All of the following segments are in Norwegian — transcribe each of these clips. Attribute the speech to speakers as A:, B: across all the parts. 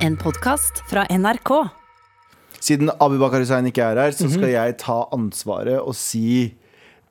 A: En podkast fra NRK.
B: Siden Abu Bakar Hussein ikke er her, så
C: Mhm.
B: skal jeg ta ansvaret og si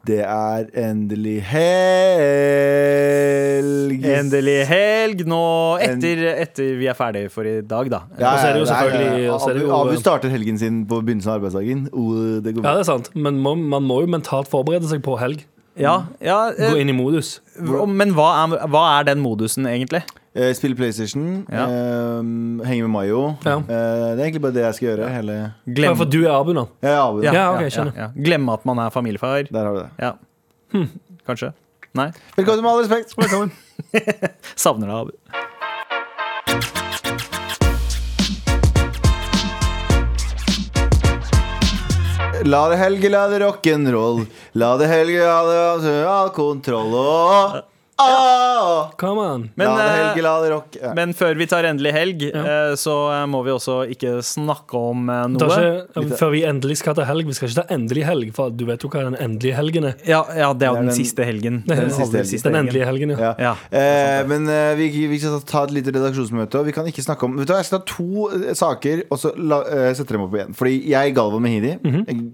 B: det er endelig helg.
D: Endelig helg nå, etter, etter vi er ferdige for i dag, da.
B: Ja,
C: Og så er det jo
B: ja, ja, ja.
C: selvfølgelig- og så er det
B: Abu,
C: jo-
B: Abu starter helgen sin på begynnelsen av arbeidsdagen. Oh, det går
C: Ja,
B: bra.
C: det er sant. Men må, man må jo mentalt forberede seg på helg.
D: Ja, ja,
C: Gå
D: eh,
C: inn i modus.
D: men hva er, hva er den modusen, egentlig?
B: Eh, Spille PlayStation,
D: Ja.
B: eh, henge med Mayo.
C: Ja.
B: Eh, det er egentlig bare det jeg skal gjøre. Hele
C: Ja, for du er Abu nå.
B: Jeg er Abu.
C: Ja, ok, skjønner.
D: ja. Glemme at man er familiefar.
B: Der har du det.
D: Ja.
C: Hm.
D: Kanskje. Nei.
B: Velkommen med all respekt. Velkommen.
D: Savner deg, Abu.
B: La det helge, la det rock'n'roll. La det helge, la det all kontroll. Ah! Åh, åh.
C: Come on.
D: Men,
B: la det
D: eh,
B: helge, la det rock. Ja.
D: Men før vi tar endelig helg, eh, så eh, må vi også ikke snakke om eh,
C: Ta
D: noe.
C: ikke, før vi endelig skal ta helg. Vi skal ikke ta endelig helg, for du vet jo hva den endelige helgen er.
D: Ja, ja, det er jo
B: Det er
D: den,
B: den-
D: siste helgen.
C: Den
D: Den aller
C: siste
B: helgen.
D: siste
C: Den
D: helgen.
C: endelige helgen, ja.
B: Ja.
D: Ja.
B: Eh, men eh, vi, vi skal ta et lite redaksjonsmøte, og vi kan ikke snakke om Vet du hva, Jeg skal ta to eh, saker, og så la, eh, setter dem opp igjen. Fordi jeg, Galvan Mehidi,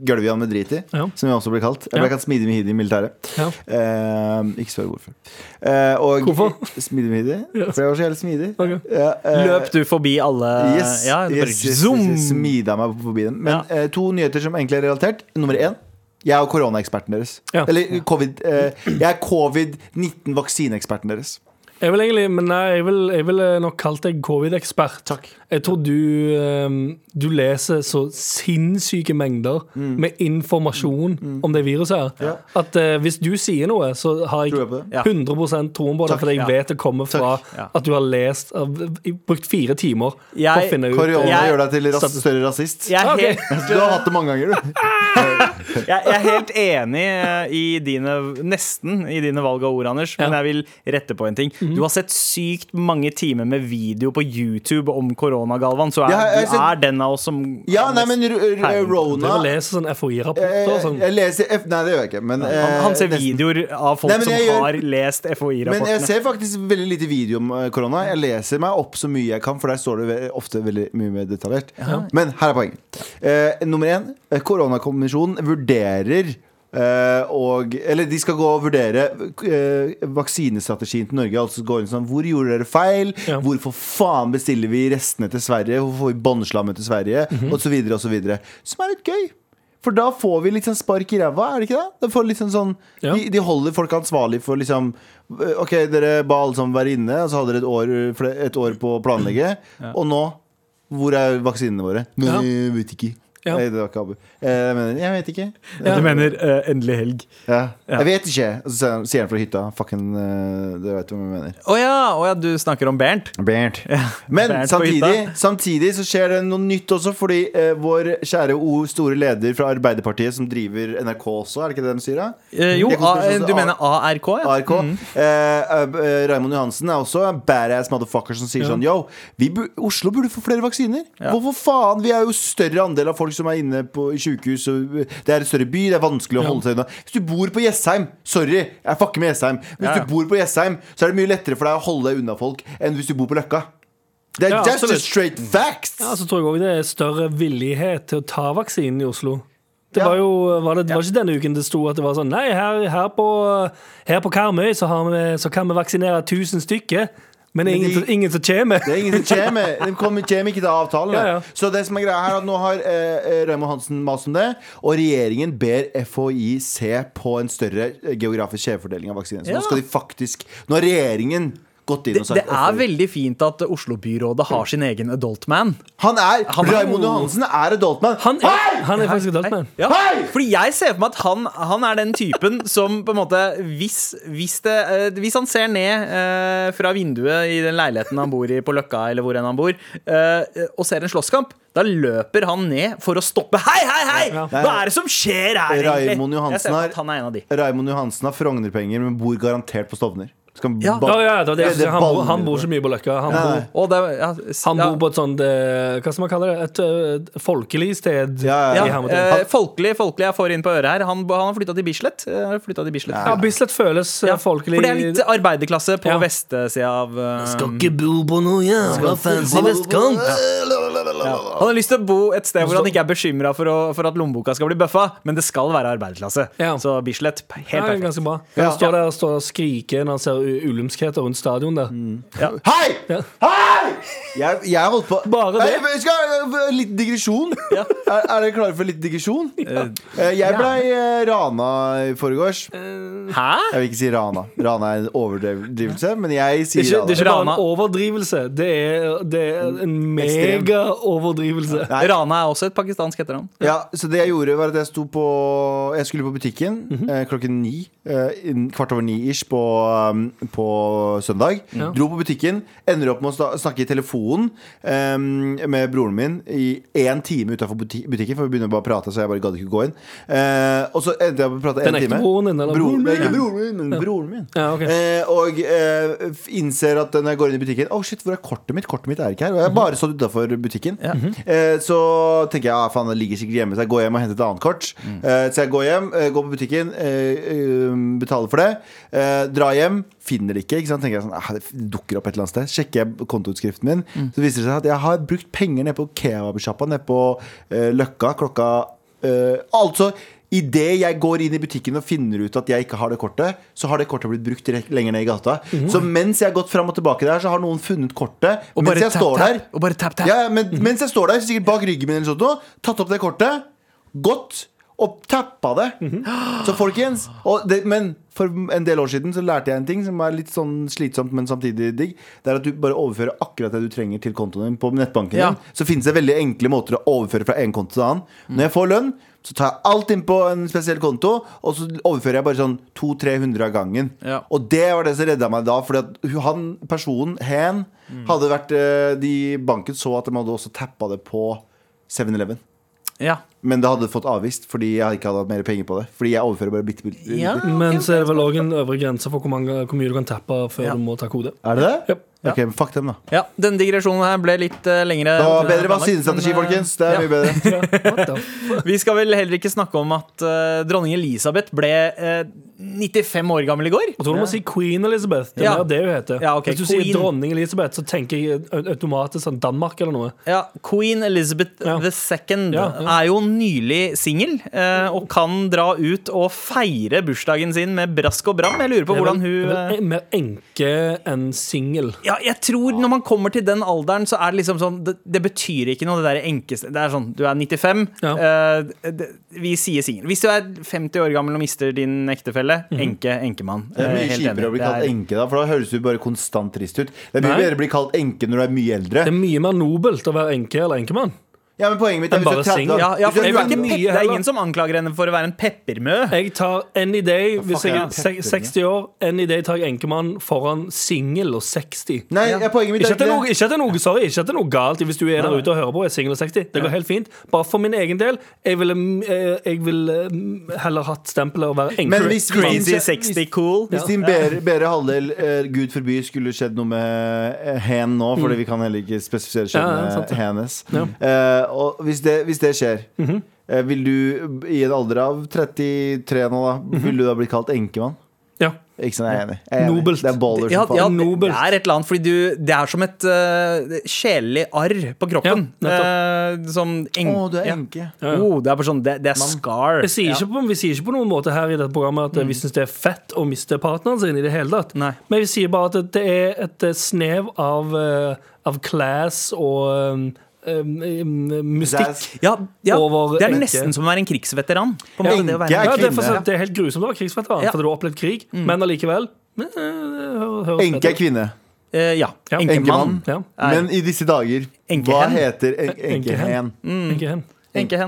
B: Gølvian med drit i,
C: Ja.
B: som jeg også ble kalt. Jeg ble
C: Ja.
B: kalt Smidig Mehidi i militæret.
C: Ja.
B: Eh, ikke spør hvorfor. Eh, og,
C: Hvorfor?
B: Smidig Mehidi.
C: Ja.
B: For jeg var så jævlig smidig.
C: Ok.
B: Ja, eh,
D: Løp du forbi alle
B: Yes,
D: Eh, ja,
B: yes,
D: bare
B: yes, yes,
D: zoom!
B: yes, smida meg forbi den. Men
D: Ja.
B: eh, to nyheter som egentlig er relatert. Nummer én. Jeg er koronaeksperten deres.
C: Ja.
B: Eller covid, eh, jeg er covid-19-vaksineeksperten deres.
C: Jeg vil egentlig, men nei, jeg vil, jeg vil eh, nok kalt deg covid-ekspert. Jeg tror du, ehm, du leser så sinnssyke mengder med informasjon om det viruset her,
B: Mm. Ja.
C: at eh, hvis du sier noe, så har jeg
B: Tror jeg på det.
D: Ja.
C: 100 troen på det,
B: Takk,
C: fordi jeg
D: ja.
C: vet det kommer fra
B: Takk,
D: ja.
C: at du har lest av- Brukt fire timer på å
D: Jeg-
C: finne ut
B: Korona
D: Jeg-
B: gjør deg til ras
C: Stat-
B: større rasist.
D: Jeg er,
C: Ok.
D: helt,
B: Du har hatt det mange ganger, du.
D: jeg, jeg er helt enig eh, i dine nesten i dine valg av ord, Anders, men
C: Ja.
D: jeg vil rette på en ting. Du har sett sykt mange timer med video på YouTube om korona, Galvan, så er,
B: Ja, jeg
D: du
B: har
D: er den av oss som
B: Ja, nei, men r- r-
D: Herregud.
C: Det er å
B: Rona eh,
C: lese sånn FHI-rapporter og sånn.
B: Jeg leser F... Nei, det gjør jeg ikke, men
D: han,
B: eh,
D: han ser
B: nesten.
D: videoer av folk
B: Nei, men
D: som
B: jeg gjør-
D: har lest
B: Men jeg
D: FHI-rapportene.
B: ser faktisk veldig lite video om eh, korona. Jeg leser meg opp så mye jeg kan, for der står det ve- ofte veldig mye mer detaljert. Men her er poenget. Eh, nummer én. eh, Koronakommisjonen vurderer eh, og Eller de skal gå og vurdere eh, vaksinestrategien til Norge. Altså gå inn sånn Hvor gjorde dere feil?
C: Ja.
B: Hvorfor faen bestiller vi restene til Sverige? Hvorfor får vi båndslammet til Sverige? Og så videre og så videre. Som er litt gøy. For da får vi litt sånn spark i ræva, er det ikke det? Da får vi litt sånn sånn
C: Ja.
B: de, de holder folk ansvarlig for liksom øh, OK, dere ba alle sammen være inne, og så hadde dere et år, øh, fle- et år på å planlegge. Og nå Hvor er vaksinene våre? Men
C: Ja.
B: jeg vet ikke.
C: Ja.
B: Nei, det var ikke Abu. Eh, Jeg mener, jeg vet ikke.
C: Ja.
D: mener eh, endelig helg.
B: Ja. Jeg vet ikke. Og så sier han- sier han fra hytta. Fucking øh, Dere veit hva jeg mener.
D: Å ja, å ja, du snakker om Bernt?
B: Bernt. Men
D: Bernt på
B: samtidig,
D: hytta.
B: samtidig så skjer det noe nytt også, fordi eh, vår kjære O, store leder fra Arbeiderpartiet, som driver NRK også, er det ikke det de sier? da?
D: Eh, jo,
B: Det er
D: A,
B: konspirasjons-
D: du mener ARK? Ja.
B: ARK. Eh, eh, Raymond Johansen er også en badass motherfucker som sier sånn Yo, vi bu Oslo burde få flere vaksiner. Hvorfor faen? Vi er jo større andel av folk som er inne på i sykehus. Og eh, det er en større by, det er vanskelig å holde seg unna. Hvis du bor på Jessheim, sorry, jeg fucker med Jessheim. Hvis
D: Ja, ja.
B: du bor på Jessheim, så er det mye lettere for deg å holde deg unna folk enn hvis du bor på Løkka. Det er
C: Ja,
B: that's
C: absolutt.
B: just straight facts!
C: Ja, så tror jeg òg det er større villighet til å ta vaksinen i Oslo. Det
B: Ja.
C: var jo, var det, var ikke denne uken det sto at det var sånn Nei, her, her, på, her på Karmøy så, har vi, så kan vi vaksinere 1000 stykker, men, ingen,
B: de-
C: som- ingen som kommer.
B: Det er ingen som kommer. De kommer, kommer ikke til avtalen.
C: Ja, ja.
B: Så det som er greia her er at nå har eh, Raymond Hansen mast om det, og regjeringen ber FHI se på en større eh, geografisk skjevfordeling av vaksiner. Så
D: Ja.
B: nå skal de faktisk Nå har regjeringen gått inn
D: Det,
B: og sagt
D: det er
B: FHI.
D: veldig fint at Oslo-byrådet har sin egen adult man.
B: Han er
D: Han er-
B: Raymond Johansen er adultman.
C: Han er, han er faktisk adult man.
D: Ja.
B: Hei!
D: Fordi jeg ser for meg at han, han er den typen som på en måte Hvis, hvis, det, eh, hvis han ser ned eh, fra vinduet i den leiligheten han bor i på Løkka, eller hvor enn han bor, eh, og ser en slåsskamp, da løper han ned for å stoppe. Hei, hei, hei!
C: Ja.
D: Hva er det som skjer her? egentlig?
B: Raymond Johansen
D: jeg ser for meg
B: har-
D: at han er en av de.
B: Raymond Johansen har Frogner-penger, men bor garantert på Stovner. Skal han
D: Ja.
B: ba-
C: Ja, ja, det var det.
B: Det
C: jeg
B: er
C: skulle si. Han, bor-
B: ballen
C: han
B: min.
C: bor ikke mye på Løkka. Han
B: Nei,
C: bor,
B: nei.
D: Og det, ja, s-
C: han
D: ja.
C: bor på et sånt eh, Hva skal man kalle det? Et eh, folkelig sted.
B: Ja,
C: i
B: ja,
D: ja,
C: Hermetikk.
D: eh, folkelig, folkelig jeg får inn på øret her. Han, han har flytta til Bislett. Eh, har flyttet til Bislett.
C: ja, Bislett føles eh,
D: Ja,
C: folkelig.
D: For det er litt arbeiderklasse på
C: Ja.
D: vestsida av eh,
C: bo på noe jævla fancy vestkant.
D: Han har lyst til å bo et sted hvor han ikke er bekymra for, å- for at lommeboka skal bli bøffa, men det skal være arbeiderklasse.
C: Ja.
D: Så Bislett, p-
C: Ja,
D: helt perfekt.
C: ganske bra.
B: Ja.
C: Han står der og står og skriker når han ser u- ulumskheter rundt stadion der.
B: Mm. Hei!
C: Ja.
B: Hei! Jeg, jeg holdt på
C: Bare det.
B: Hei, men skal jeg- eh, Litt digresjon. Er, er dere klare for litt digresjon? Eh, Jeg blei eh, rana i forgårs. Jeg
D: Hæ?
B: vil ikke si rana. Rana er en overdrivelse, men jeg
C: Det er
B: sier
C: ikke, det er
B: rana.
C: ikke bare
D: Rana.
C: en overdrivelse. Det er, det er en
B: Ekstrem.
C: mega-overdrivelse.
B: Nei.
D: Rana er også et pakistansk etternavn.
B: Ja, så det jeg gjorde var at jeg sto på Jeg skulle på butikken
C: Mhm.
B: eh, klokken ni eh, inn- Kvart over ni ish på, um, på søndag
C: Ja.
B: Dro på butikken Ender opp med å sta- snakke i telefonen em, Med broren min I en time utenfor buti- butikken For vi begynner bare å prate Så jeg bare gadd ikke gå inn Eh, Og så endte jeg på å prate en
C: Den ekte
B: time
C: broren din, eller?
B: Broren,
C: Broren min.
B: Ikke broren min, men broren min
C: Ja, ok.
B: Eh, og eh, f- innser at når jeg går inn i butikken Å shit, hvor er kortet mitt? Kortet mitt er ikke her. Og jeg
C: Mhm.
B: bare stått utafor butikken. eh, så tenker jeg ah, faen, det ligger sikkert hjemme, så jeg går hjem og henter et annet kort.
C: Mm.
B: Eh, så jeg går hjem, eh, går på butikken, eh, eh, betaler for det. Eh, drar hjem, finner det ikke. ikke sant? Tenker jeg sånn, ah, Det dukker opp et eller annet sted. Sjekker jeg kontoutskriften min,
C: Mm.
B: så viser det seg at jeg har brukt penger nede på kebabsjappa nede på eh, Løkka klokka eh, Altså Idet jeg går inn i butikken og finner ut at jeg ikke har det kortet, så har det kortet blitt brukt direkt- lenger ned i gata. Så mens jeg har gått fram og tilbake der, så har noen funnet kortet. mens jeg står der
D: Mhm. og bare tap, tap.
B: ja, ja, men, Mens jeg står der, sikkert bak ryggen min, eller sånt, nå, tatt opp det kortet, gått og tappa det.
D: Mhm.
B: Så folkens og det, Men for en del år siden så lærte jeg en ting som er litt sånn slitsomt, men samtidig digg. Det er at du bare overfører akkurat det du trenger til kontoen din på nettbanken.
D: Ja.
B: din Så finnes det veldig enkle måter å overføre fra en konto til en annen. Når jeg får lønn, så tar jeg alt inn på en spesiell konto, og så overfører jeg bare sånn 200-300 av gangen.
D: Ja.
B: Og det var det som redda meg da, fordi at hun- han, personen, hen, hadde vært eh, De i banken så at de hadde også tappa det på 7-Eleven.
D: Ja.
B: Men det hadde fått avvist fordi jeg ikke hadde hatt mer penger på det. Fordi jeg overfører bare bitte bitte bitte-
D: Ja.
C: Men så er det vel òg en øvre grense for hvor, mange, hvor mye du kan tappe før
D: Ja.
C: du må ta kode.
B: Er det det?
C: Yep.
B: Ok, men fuck dem, da.
D: ja. Denne digresjonen her ble litt eh, lengre.
B: Det var bedre
D: Men, eh,
B: vaksinestrategi, folkens. Det er
D: ja.
B: mye bedre.
C: Ja, what the f-
D: Vi skal vel heller ikke snakke om at eh, dronning Elisabeth ble eh, 95 år gammel i går.
C: Jeg tror du må si Queen Elizabeth. Det er
D: Ja.
C: mer det hun heter.
D: Ja, ok,
C: Hvis du
D: Queen.
C: sier dronning Elisabeth, så tenker jeg au- automatisk sånn Danmark eller noe.
D: Ja, Queen Elizabeth
C: Ja.
D: II
C: Ja, ja.
D: er jo nylig singel eh, og kan dra ut og feire bursdagen sin med brask og bram. Jeg lurer på hvordan
C: Det
D: hun
C: er
D: eh,
C: vel Mer enke enn singel.
D: ja, jeg tror Når man kommer til den alderen, så er det liksom sånn Det, det betyr ikke noe, det der enkeste Det er sånn, du er 95,
C: Ja.
D: eh, det, vi sier singel. Hvis du er 50 år gammel og mister din ektefelle,
C: Mhm.
D: enke, enkemann.
B: Det er
D: Eh,
B: mye
D: helt enig.
B: kjipere å bli
D: Det
B: kalt
D: er-
B: enke, da, for da høres du bare konstant trist ut. Det er mye
C: Nei.
B: bedre å bli kalt enke når du er mye eldre.
C: Det er mye mer nobelt å være enke eller enkemann.
B: Ja, men poenget mitt er
C: Men
B: hvis du er
C: bare
B: 30
C: sing.
B: da.
D: Ja, ja,
B: Hvis
D: for
B: du
D: hun
B: er
D: er ikke
B: mye-
D: pe-
C: mye
D: det er
C: heller.
D: ingen som anklager henne for å være en peppermø.
C: Jeg tar any day
B: fuck,
C: hvis jeg
B: ja.
C: er se- 60 år. Any day tar jeg enkemann foran singel og 60.
B: Nei, ja, poenget mitt
C: Ikke
B: er
C: at, det er noe,
B: ikke det.
C: ikke, at det er noe, sorry, ikke at det er noe galt hvis du er der ute og hører på og er singel og 60. Det går helt fint. Bare for min egen del. Jeg ville eh, jeg ville, eh, heller hatt stempelet og være
B: Men
C: enkel.
B: hvis, hvis,
D: Crazy
B: din-
D: 60 cool.
B: hvis din bedre, bedre halvdel, eh, gud forby, skulle skjedd noe med eh, hen nå, fordi vi kan heller ikke spesifisere
C: Mm. Ja, ja,
B: skjebne
C: sant det.
B: hennes
C: Ja. Mhm.
B: Eh, Og hvis det, hvis det skjer, eh, vil du i en alder av 33 nå, da, vil du da bli kalt enkemann?
C: Mhm. Ja.
B: Ikke sant, jeg er enig. Jeg er enig.
C: Nobelt.
B: Det er baller
D: Ja,
B: som faen.
D: ja, det
C: Nobelt.
D: det er et eller annet, fordi du, det er som et uh, sjelelig arr på kroppen.
C: Ja,
D: Eh, som
B: Å,
D: eng...
B: du er
D: ja.
B: enke.
C: Ja, ja.
D: Oh, det er bare sånn, det, det er scar.
C: Jeg sier ikke på, vi sier ikke på noen måte her i dette programmet at eh,
B: Mm.
C: vi syns det er fett å miste partneren sin. i det hele tatt
D: Nei.
C: Men vi sier bare at det er et eh, snev av, eh, av class og eh, eh, mystikk.
B: Det er-
D: Ja, ja.
C: Over
D: det er
C: enke.
D: nesten som å være en krigsveteran. På en
C: Ja.
D: måte, det å være
B: Enke er
C: Ja, det, er
B: kvinne. Mm.
C: for sant, det er helt grusomt å være krigsveteran,
D: Ja.
C: fordi du har opplevd krig, men allikevel eh, det hø- høres
B: Enke er
C: fett ut.
B: kvinne.
D: Eh, ja.
C: Ja.
D: Enkemann.
C: Ja.
D: Nei.
B: Men i disse dager, hva
D: Enkehen.
B: heter en-
C: Enkehen.
B: enkehen?
C: Enke hen.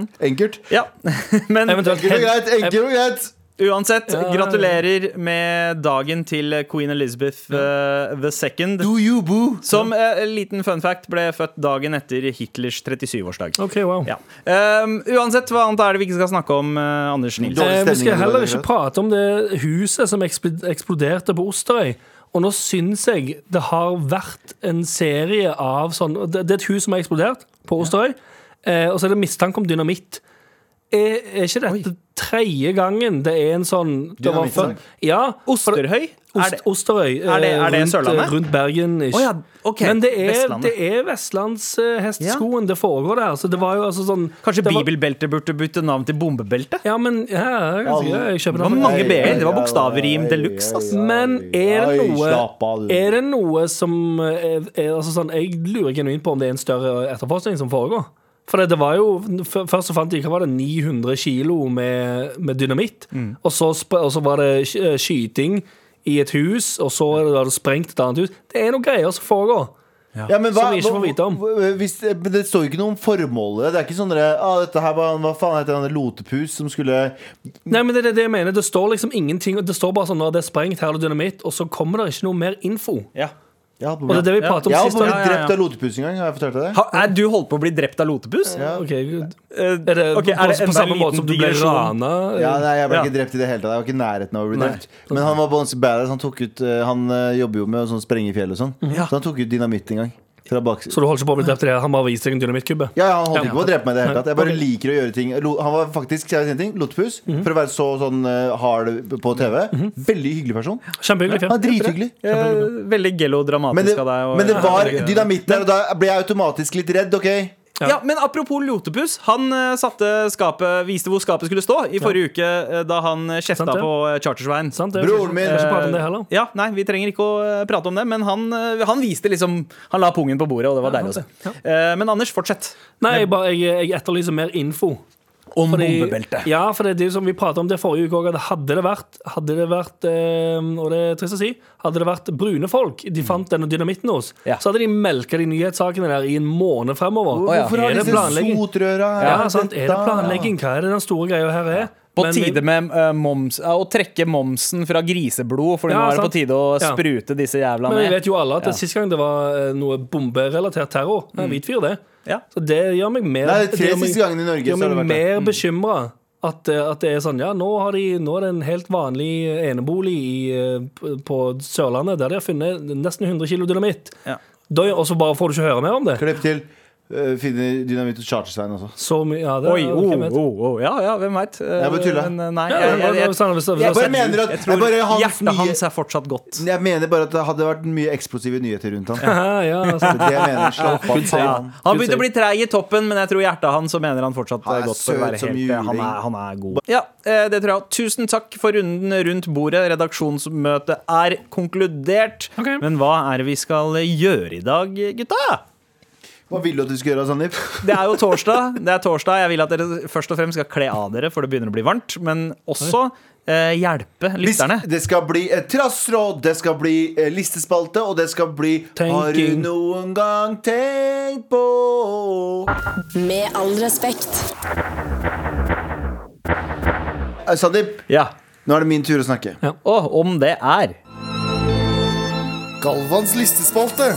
D: Enkehen.
B: Enkelt?
D: Ja. Men
C: Eventuelt
B: Enkelt og
C: hen.
B: greit. Enkelt og greit.
D: uansett,
C: Ja, ja, ja.
D: gratulerer med dagen til queen Elizabeth eh, the second.
B: Do you boo?
D: Som eh, liten fun fact ble født dagen etter Hitlers 37-årsdag.
C: OK, wow.
D: Ja. Um, uansett, hva annet er det vi ikke skal snakke om, eh, Anders Nilsen?
B: Dårlig
C: Eh,
B: stemning
C: vi
B: i
C: skal
B: dag,
C: heller
B: rett og
C: ikke
B: slett.
C: prate om det huset som ekspl- eksploderte på Osterøy. Og nå syns jeg det har vært en serie av sånn Det, det er et hus som har eksplodert på Osterøy, eh, og så er det mistanke om dynamitt. Er, er ikke dette tredje gangen det er en sånn det var før-
B: Dynamittsak?
C: Ja. for det-
D: Osterhøy? Er det,
C: Ost, Osterøy. eh,
D: er det- er det
C: rundt,
D: Sørlandet?
C: Rundt Bergen. Ikke.
D: Å ja, ok.
C: Men det er,
D: Vestlandet.
C: det er vestlandshesteskoen det foregår der. Så det var jo altså sånn
D: kanskje
C: det var-
D: bibelbeltet burde bytte navn til bombebelte?
C: Ja, men ja, jeg, kan si det. jeg kjøper
D: Det var
C: den.
D: mange b-er. Det var bokstavrim de luxe, ass.
C: Men er det
B: Oi, slapp
C: noe
B: av, du.
C: Er det noe som er, er, altså sånn, Jeg lurer genuint på om det er en større etterforskning som foregår. For det, det var jo f- Først så fant de hva var det, 900 kilo med, med dynamitt.
B: Mm.
C: Og, så, sp- og så var det sk- eh, skyting i et hus, og så var det sprengt et annet hus. Det er noen greier som foregår.
B: Mm. Ja, men
C: Som vi ikke får vite om.
B: hva- Hvis, eh, men det står jo ikke noe om formålet. Det er ikke sånn dere, ah, dette her var, Hva faen heter han lotepus som skulle
C: Nei, men det er det jeg mener. Det står liksom ingenting. Det står bare sånn når det er sprengt, her er det dynamitt, og så kommer det ikke noe mer info.
D: Ja.
B: Jeg har
C: Og det er det vi
D: Ja.
C: prater om
B: Jeg har
C: sist.
B: blitt
C: Ja,
D: ja, ja.
B: drept av lotepus en gang. Har jeg fortalt deg det?
D: Ha, er du holdt på å bli drept av lotepus?
B: Ja.
C: Ok, good.
D: Eh,
C: Er det
D: ok,
C: på,
D: er det
C: på
D: enda
C: samme
D: en liten
C: måte som du ble
D: digresjon?
C: rana?
B: Ja, nei, jeg ble
D: Ja.
B: ikke drept i det hele tatt. Jeg var ikke i nærheten av å bli
C: Nei.
B: drept. Men han var ganske badass. Han, tok ut, eh, han eh, jobber jo med å sånn sprenge fjell og sånn. Så han tok ut dynamitt en gang. Fra bak.
C: Mhm. Så du holder ikke på å bli drept i det? Han bare viser deg en dynamittkubbe?
B: Ja, ja, han holdt ikke på å drepe meg i det hele tatt. Jeg bare
C: Ok. Mhm.
B: liker å gjøre ting. Lo- Han var faktisk skal jeg si en ting, lotepus. For å være så sånn eh, hard på TV. Veldig hyggelig person. Han
C: Kjempehyggelig fyr.
B: er drithyggelig.
D: Eh, veldig
B: Men det,
D: gelodramatisk av deg. å-
B: men det var
C: Ja.
B: dynamitt der, og da ble jeg automatisk litt redd, OK?
C: Ja.
D: Ja. men apropos lotepus. Han eh, satte skapet, viste hvor skapet skulle stå i forrige uke eh, da han eh, kjefta
C: Sant det.
D: på eh, Chartersveien. Eh,
C: Sant, det er-
B: Broren min. eh,
C: Jeg skal ikke prate om det heller.
D: Ja, nei, Vi trenger ikke å eh, prate om det, men han, eh, han viste liksom Han la pungen på bordet, og det var deilig å se. Eh, Men Anders, fortsett.
C: Nei, jeg, bare, jeg, jeg etterlyser mer info.
D: Om
C: Ja, for det, det er jo som vi pratet om det forrige uke òg, at hadde det vært, hadde det vært eh, Og det er trist å si, hadde det vært brune folk de fant denne dynamitten hos,
D: Ja.
C: så hadde de melka de nyhetssakene der i en måned fremover.
D: Å, ja.
B: Hvorfor har
C: Er det
B: disse
C: planlegging?
B: sotrøra
C: Ja, sant? Er det
B: dette?
C: planlegging? Hva er det den store greia her er?
D: På
C: Men vi-
D: tide med eh, moms, eh, å trekke momsen fra griseblod, for
C: Ja,
D: nå er det
C: sant.
D: på tide å
C: Ja.
D: sprute disse jævla
C: Men
D: ned.
C: vi vet jo alle at
D: Ja. Mm.
C: sist gang det var eh, noe bomberelatert terror, det er en hvit fyr, det.
D: Ja.
C: Så det gjør meg mer
B: Nei, det er tre
C: gjør meg-
B: siste gangene i Norge, så
C: gjør
B: har det
C: meg
B: vært det. Mm.
C: mer bekymra. At, eh, at det er sånn Ja, nå, har de, nå er det en helt vanlig enebolig i, eh, p- på Sørlandet der de har funnet nesten 100 kilo dynamitt.
D: Ja.
C: Da- Og så bare får du ikke høre mer om det.
B: Klipp til. eh, Finner dynamitt hos Chartersveien også.
C: Så mye ja, det,
D: Oi,
C: ja,
D: oh,
C: hvem vet?
D: oh, oh. Ja, ja, hvem veit?
B: Jeg bare tuller.
D: eh, Nei,
C: Ja,
D: jeg, jeg,
C: hva- hva-
D: jeg,
C: sånn, hvis- hvis-
B: Jeg bare
C: hvis-
B: mener at,
D: jeg
B: jeg bare,
D: tror
B: hans nye-
D: hjertet hans er fortsatt godt.
B: Jeg mener bare at det hadde vært mye eksplosive nyheter rundt han.
C: Ja, ja, altså.
B: Det er det jeg mener. Slapp av, faen.
D: Han begynte å bli treig i toppen, men jeg tror hjertet hans så mener han fortsatt
B: Han er
D: er godt for å være
B: søt som
D: helt
B: juling.
D: han er, han er god. Ja, eh, det tror jeg. Tusen takk for runden rundt bordet. Redaksjonsmøtet er konkludert.
C: Ok.
D: Men hva er det vi skal gjøre i dag, gutta?
B: Hva vil du at du skal gjøre, Sandeep?
D: Det er jo torsdag. Det er torsdag. Jeg vil at dere først og fremst skal kle av dere, for det begynner å bli varmt. Men også eh, hjelpe
B: Hvis-
D: lytterne.
B: Det skal bli eh, trassråd, det skal bli eh, listespalte, og det skal bli Har du
C: Tenking.
B: noen gang tenkt på
A: Med all respekt.
B: Eh, Sandeep,
D: Ja.
B: nå er det min tur å snakke.
D: Og om det er
E: Galvans listespalte.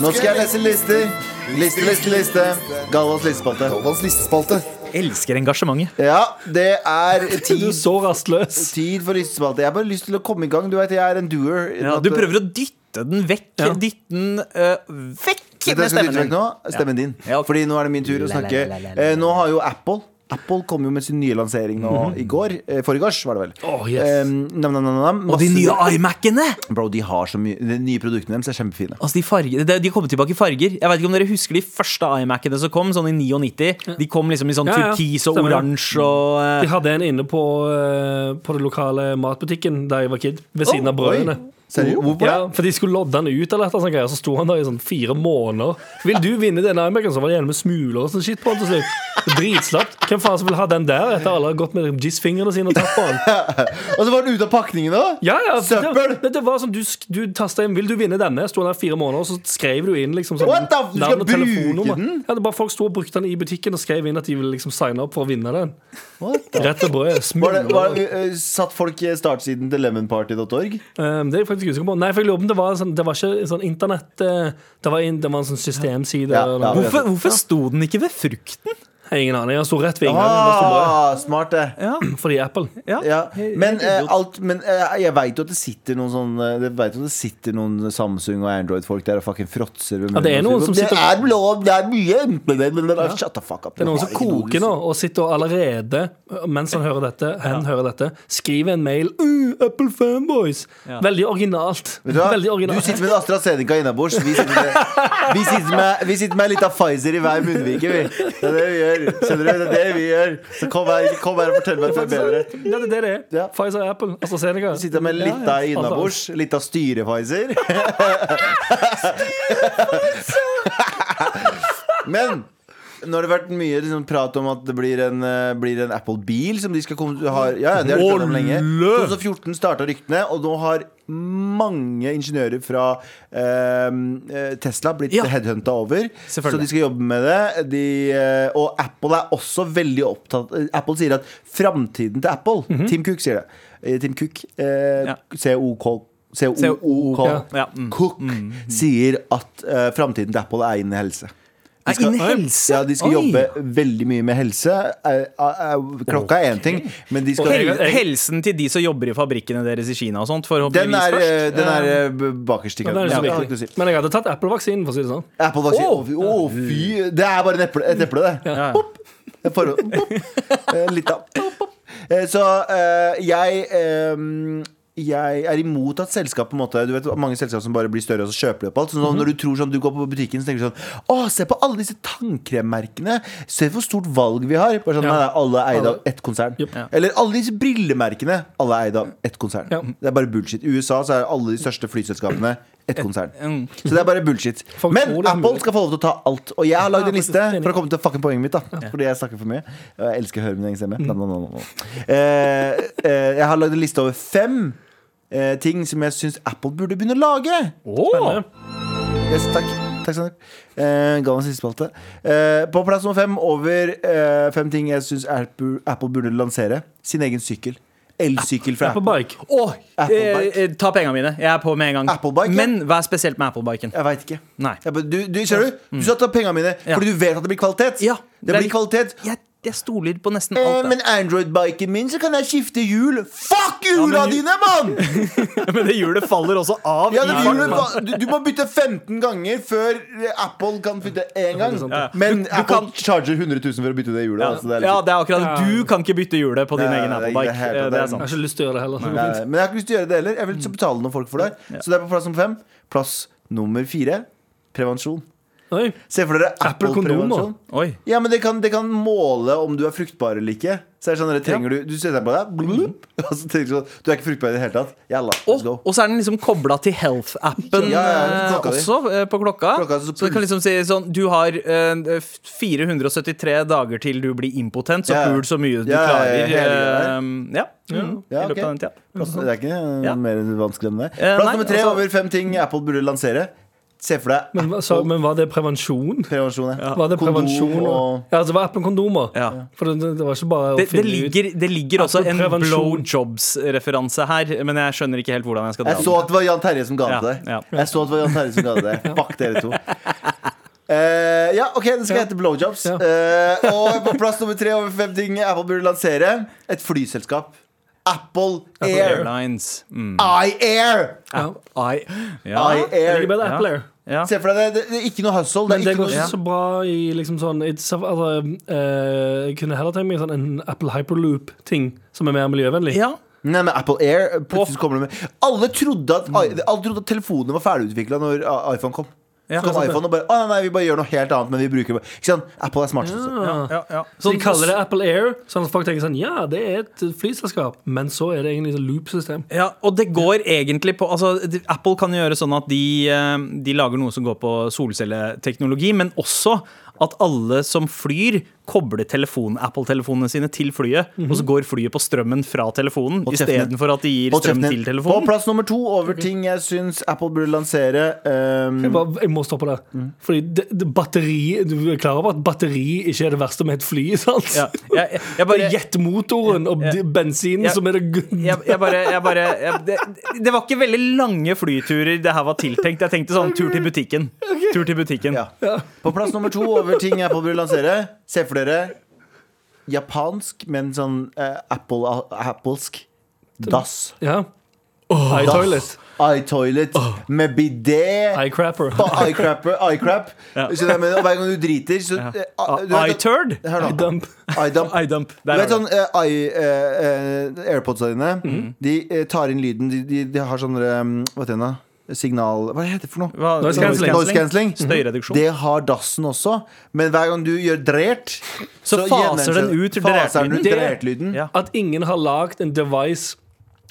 B: Nå skal jeg lese lister. Liste, liste, liste. Galvans listespalte.
E: Galvans listespalte.
D: Elsker engasjementet.
B: Ja, det er
C: Du
B: tid,
C: er så rastløs.
B: tid for listespalte. Jeg har bare lyst til å komme i gang. Du vet, jeg er en doer.
D: Ja, du prøver å dytte den vekk.
C: Ja.
D: Dytte den eh, vekk
B: Vet du hva
D: med
B: jeg skal
D: stemmen
B: dytte vekk
D: din.
B: nå? Stemmen din.
D: Ja, ok.
B: Fordi nå er det min tur å
D: La, la,
B: snakke.
D: la, la, la,
B: Eh, Nå har jo Apple Apple kom jo med sin nye lansering nå
D: Mhm.
B: i går. Eh, Forrige var det vel.
C: Åh, yes.
B: Eh, nam, nam, nam, nam.
D: Og de
B: Masse-
D: nye iMac-ene!
B: Bro, de har så mye De nye produktene deres er kjempefine.
D: Altså, de, farger, de de kommer tilbake i farger. Jeg vet ikke om dere husker de første iMac-ene som kom, sånn i 99. De kom liksom i sånn
C: Ja, ja.
D: turkis og
C: Stemmer det.
D: oransje og eh,
C: De hadde en inne på, eh, på den lokale matbutikken da jeg var kid, ved siden av brødene. Oh,
B: Oi. Seriøst? Hvorfor
C: Ja, for de skulle lodde han ut, eller et eller annet sånt greier, så sto han der i sånn fire måneder. Vil du vinne den iMac-en? Så var det gjerne med smuler og sånn shit på den til slutt. Dritslapt. Hvem faen som vil ha den der etter alle har gått med jizz-fingrene sine og tatt på den?
B: Og så var den ute av pakningen òg!
C: Ja, ja, for det-
B: Søppel!
C: Det, det var som du, sk- du tasta inn 'Vil du vinne denne?' Sto han der fire måneder, og så skrev du inn liksom sånn
B: What the f- du skal
C: navn og
B: bruke
C: telefonnummer.
B: den?
C: Ja, det bare Folk sto og brukte den i butikken og skrev inn at de ville liksom signe opp for å vinne den. Rett og brød.
B: Var det,
C: Smuler.
B: var, eh, satt folk eh, startsiden til lemonparty.org?
C: Um, det er jeg faktisk usikker på. Nei, for jeg lurer på om det var, en sånn, det var ikke en sånn internett eh, det, var en, det var en sånn systemside.
B: Ja,
C: eller
B: ja.
C: noe.
D: Hvorfor, hvorfor sto den ikke ved frukten?
C: Jeg har Ingen aning. Han sto rett ved inngangen.
B: Ah, smart, det.
D: Ja,
C: Ah. Fordi Apple.
D: ja.
B: Ja,
D: Helt
B: men eh,
D: idiot.
B: alt, men eh, jeg veit jo at det sitter noen sånn eh, Jeg vet jo at det sitter noen Samsung og Android-folk der og fucking fråtser. ved
C: Ja, det er
B: munnen og
C: noen som
B: sier,
C: sitter-
B: Det er lov, det er mye men det- men det- Shut the fuck up.
C: Det er noen som
B: ikke noe
C: koker nå og sitter og allerede, mens han hører dette, hen hører dette, skriver en mail uh, 'Apple fanboys'. Veldig originalt.
B: Vet du hva?
C: Veldig
B: Du
C: originalt.
B: sitter med en AstraZeneca innabords. Vi sitter med, vi sitter med, vi sitter med litt av Pfizer i hver munnvike. Vi. Det er det vi gjør. Skjønner du? Det er det vi gjør. Så kom her, kom her og fortell meg at du er bedre.
C: Ja, det er det det er.
B: Ja.
C: Pfizer og Apple. AstraZeneca.
B: Du sitter med litt av innabords, litt av styre-Pfizer. Men nå har det vært mye liksom, prat om at det blir en, eh, blir en Apple-bil som de skal komme ha, Ja, ja, det har de pratet om lenge. 2014 starta ryktene, og nå har mange ingeniører fra eh, eh, Tesla blitt
D: Ja.
B: headhunta over.
D: Selvfølgelig.
B: Så de skal jobbe med det. De, eh, og Apple er også veldig opptatt eh, Apple sier at framtiden til Apple Tim Cook sier det. Eh, Tim Cook, eh,
D: Ja.
B: COK COOK
C: Ja.
D: Ja, mm.
B: Cook sier at eh, framtiden til Apple er innen helse. De
D: Er innen helse?
B: Ja, de skal
D: Oi.
B: jobbe veldig mye med helse. Eh, eh, eh, klokka er én ting, men de skal
D: Hel helsen til de som jobber i fabrikkene deres i Kina og sånt,
B: Den
D: forhåpentligvis
B: er,
D: først.
B: eh, den er eh, b- bakerst i
C: Ja, det er
B: køen.
C: det
B: Ja,
C: som
B: det
C: er
B: har jeg ikke noe å si.
C: viktig. Men jeg hadde tatt Apple-vaksinen, for å si det sånn.
B: Apple-vaksine. Å, fy- å, fy! Det er bare en eple, et eple, det.
D: Ja.
B: Pop. Et forhold. Pop. Eh, Litt av pop, pop. Eh, Så eh, jeg eh, jeg er imot at selskap på en måte Du vet mange selskap som bare blir større og så kjøper de opp alt. Sånn, som Når du tror sånn, du går på butikken så tenker du sånn Å, se på alle disse tannkremmerkene! Se hvor stort valg vi har! Bare sånn,
C: Ja.
B: nei, nei, alle er eid av ett konsern.
C: Jupp.
D: Ja.
B: Eller alle disse brillemerkene! Alle er eid av ett konsern.
C: Ja.
B: Det er bare bullshit. I USA så er alle de største flyselskapene ett konsern.
D: mm.
B: Så det er bare bullshit.
C: Folk
B: Men
C: tror det er
B: Apple
C: mulig.
B: skal få lov til å ta alt. Og jeg har lagd
C: Ja,
B: en liste
C: faktisk, enig.
B: for å komme til fucking poenget mitt. da Fordi jeg snakker for mye. Og jeg elsker å høre min egen
C: Mm.
B: stemme. Nam, nam, nam, nam. Eh, eh, jeg har lagd en liste over fem eh, ting som jeg syns Apple burde begynne å lage.
C: Spennende.
B: Yes, takk. Takk, Sander. Eh, ga meg siste spalte. Eh, på plass nummer fem over eh, fem ting jeg syns Apple, Apple burde lansere. Sin egen sykkel. Elsykkel fra
C: Apple
B: Apple.
C: Bike.
D: Åh, eh,
B: Applebike.
D: eh, ta penga mine. Jeg er på med en gang.
B: Applebike, ja.
D: Men vær spesielt med Applebiken.
B: Jeg veit ikke.
D: Nei. Mm.
B: Jeg bare, du, du, ser du? Du satte opp pengene mine
D: Ja.
B: fordi du vet at det blir kvalitet.
D: Ja,
B: det,
D: det er
B: blir kvalitet
D: Jeg, jeg stoler på nesten
B: Eh,
D: alt.
B: men
D: det.
B: Android-biken min, så kan jeg skifte hjul. Fuck hjula
D: men-
B: dine, mann!
D: men det hjulet faller også av.
B: Ja, det
D: i
B: hjulet,
D: farten.
B: du, du må bytte 15 ganger før eh, Apple kan bytte én gang.
C: sant,
B: Men Apple
D: kan-
B: charger 100 000 for å bytte det hjulet.
D: ja.
B: Altså, det er litt-
D: ja, det er akkurat det. Du kan ikke bytte hjulet på din
B: Nei,
D: egen
B: det er
D: Applebike.
B: helt-
D: Eh, Det er
C: Jeg
D: sant.
C: har ikke lyst til å gjøre det heller.
B: Nei, nei, Eh, men jeg har ikke lyst til å gjøre det heller. Jeg vil ikke betale noen folk for det. Så det er på plass nummer fem. Plass nummer fire prevensjon.
C: Oi.
B: Se for dere
C: Apple kondomer.
B: Apple-prevensjon.
D: Oi.
B: Ja, men det kan, det kan måle om du er fruktbar eller ikke. Så er det sånn, dere trenger du, du setter deg på deg, blup, og så tenker du sånn Du er ikke fruktbar i det hele tatt. Jalla, let's
D: Og,
B: go.
D: og så er den liksom kobla til Health-appen
B: Ja, ja,
D: eh,
B: klokka di.
D: også, eh, på klokka.
B: Klokka, så
D: så du kan liksom si sånn Du har eh, 473 dager til du blir impotent, så
B: Ja, ja.
D: pul så mye du
B: Ja, ja,
D: klarer.
B: ja, hele
D: eh, ja. Mm,
B: Ja,
D: I løpet av
B: ok.
D: den tida.
B: Plass, det er ikke eh,
D: Ja.
B: mer vanskelig enn det.
D: Eh,
B: Plass
D: nei,
B: nummer tre
D: altså-
B: over fem ting Apple burde lansere. Se for deg
C: Men, hva- så, men var det prevensjon?
B: prevensjon. ja.
C: Var det
B: Kondom
C: prevensjon og...
B: og-
C: Ja, altså, det var Apple kondomer.
D: Ja.
C: For det, det var ikke bare å
D: Det, det
C: finne ut
D: ligger, det ligger også en
C: Prevensjon.
D: blow jobs-referanse her, men jeg skjønner ikke helt hvordan jeg skal dra
B: Jeg så at det var Jan Terje som ga det
D: Ja,
B: til deg.
D: ja.
B: Jeg så at det var Jan Terje som ga det til deg. Fuck dere to. Eh, ja, OK, det skal hete blowjobs.
C: Ja.
B: Eh, og på plass nummer tre over fem ting Apple burde lansere, et flyselskap. Apple Air.
D: Airlines. Mm.
B: iAir!
C: ja.
D: I, ja.
C: Det
B: iAir.
C: ligger bedre
D: Ja.
C: Apple Air.
D: ja.
B: Se for deg det, det, det er ikke noe hustle. Det
C: Men
B: er
C: det
B: ikke
C: går
B: noe
C: ikke så bra i liksom sånn it's, altså, eh, Jeg kunne heller tenkt meg sånn en Apple Hyperloop-ting som er mer miljøvennlig.
D: ja.
B: Nei, men Apple Air eh, plutselig så kommer det med Alle trodde at,
D: Mm.
B: alle trodde at telefonene var ferdigutvikla når i- iPhone kom.
D: Ja.
B: Så kom iPhone og bare Å nei, nei, vi bare gjør noe helt annet, men vi bruker bare Ikke sant? Apple er smartest. også.
D: ja, Sånn- ja.
C: Ah. Så de kaller det Apple Air, sånn at folk tenker sånn Ja, det er et flyselskap, men så er det egentlig et loop-system.
D: Ja, og det går egentlig på altså, de- Apple kan jo gjøre sånn at de, eh, de lager noe som går på solcelleteknologi, men også at alle som flyr, kobler telefon, Apple-telefonene sine til flyet. Og så går flyet på strømmen fra telefonen
B: Mhm. Hold kjeften din.
D: istedenfor at de gir
B: Hold
D: strøm
B: kjeften din.
D: til
B: På
D: telefonen.
B: plass nummer to over ting jeg syns Apple burde lansere ehm,
C: Jeg, bare, jeg må stoppe der.
D: Mm.
C: Fordi det, det batteri Du er klar over at batteri ikke er det verste med et fly, sant?
D: Ja, jeg, jeg, jeg
C: Bare
D: bare
C: jetmotoren og de- bensinen
D: Ja.
C: som er det gu-
D: jeg, jeg bare, jeg bare jeg, det, det var ikke veldig lange flyturer det her var tiltenkt. Jeg tenkte sånn tur til butikken. Tur til butikken.
B: ja. På plass nummer to over ting Apple burde lansere, se for for dere japansk, men sånn eh, Apple, applesk. Dass.
C: Ja. Eye toilet.
B: Eye-toilet med bidé.
C: Eye crapper.
B: Eye-crapper. Eye-crap. Skjønner du hva jeg mener? Og hver gang du driter, så eh, ah, du vet-
D: Eye-turd?
B: Hør nå.
C: Dump.
B: Eye-dump.
D: Eye-dump.
B: Du
D: Der
B: vet
D: har du.
B: sånn eh, i- eh, eh, Airpodsene dine
D: Mhm.
B: De eh, tar inn lyden De, de, de har sånne um, Hva heter det? Signal Hva heter det for noe?
D: Hva-
C: Noise cancelling.
B: Noise cancelling Mhm.
D: Støyreduksjon.
B: Det har dassen også Men hver gang du gjør drert
D: Så faser den ut
B: Faser den ut
C: drertlyden.
B: drertlyden
D: Ja.
C: At ingen har lagd en device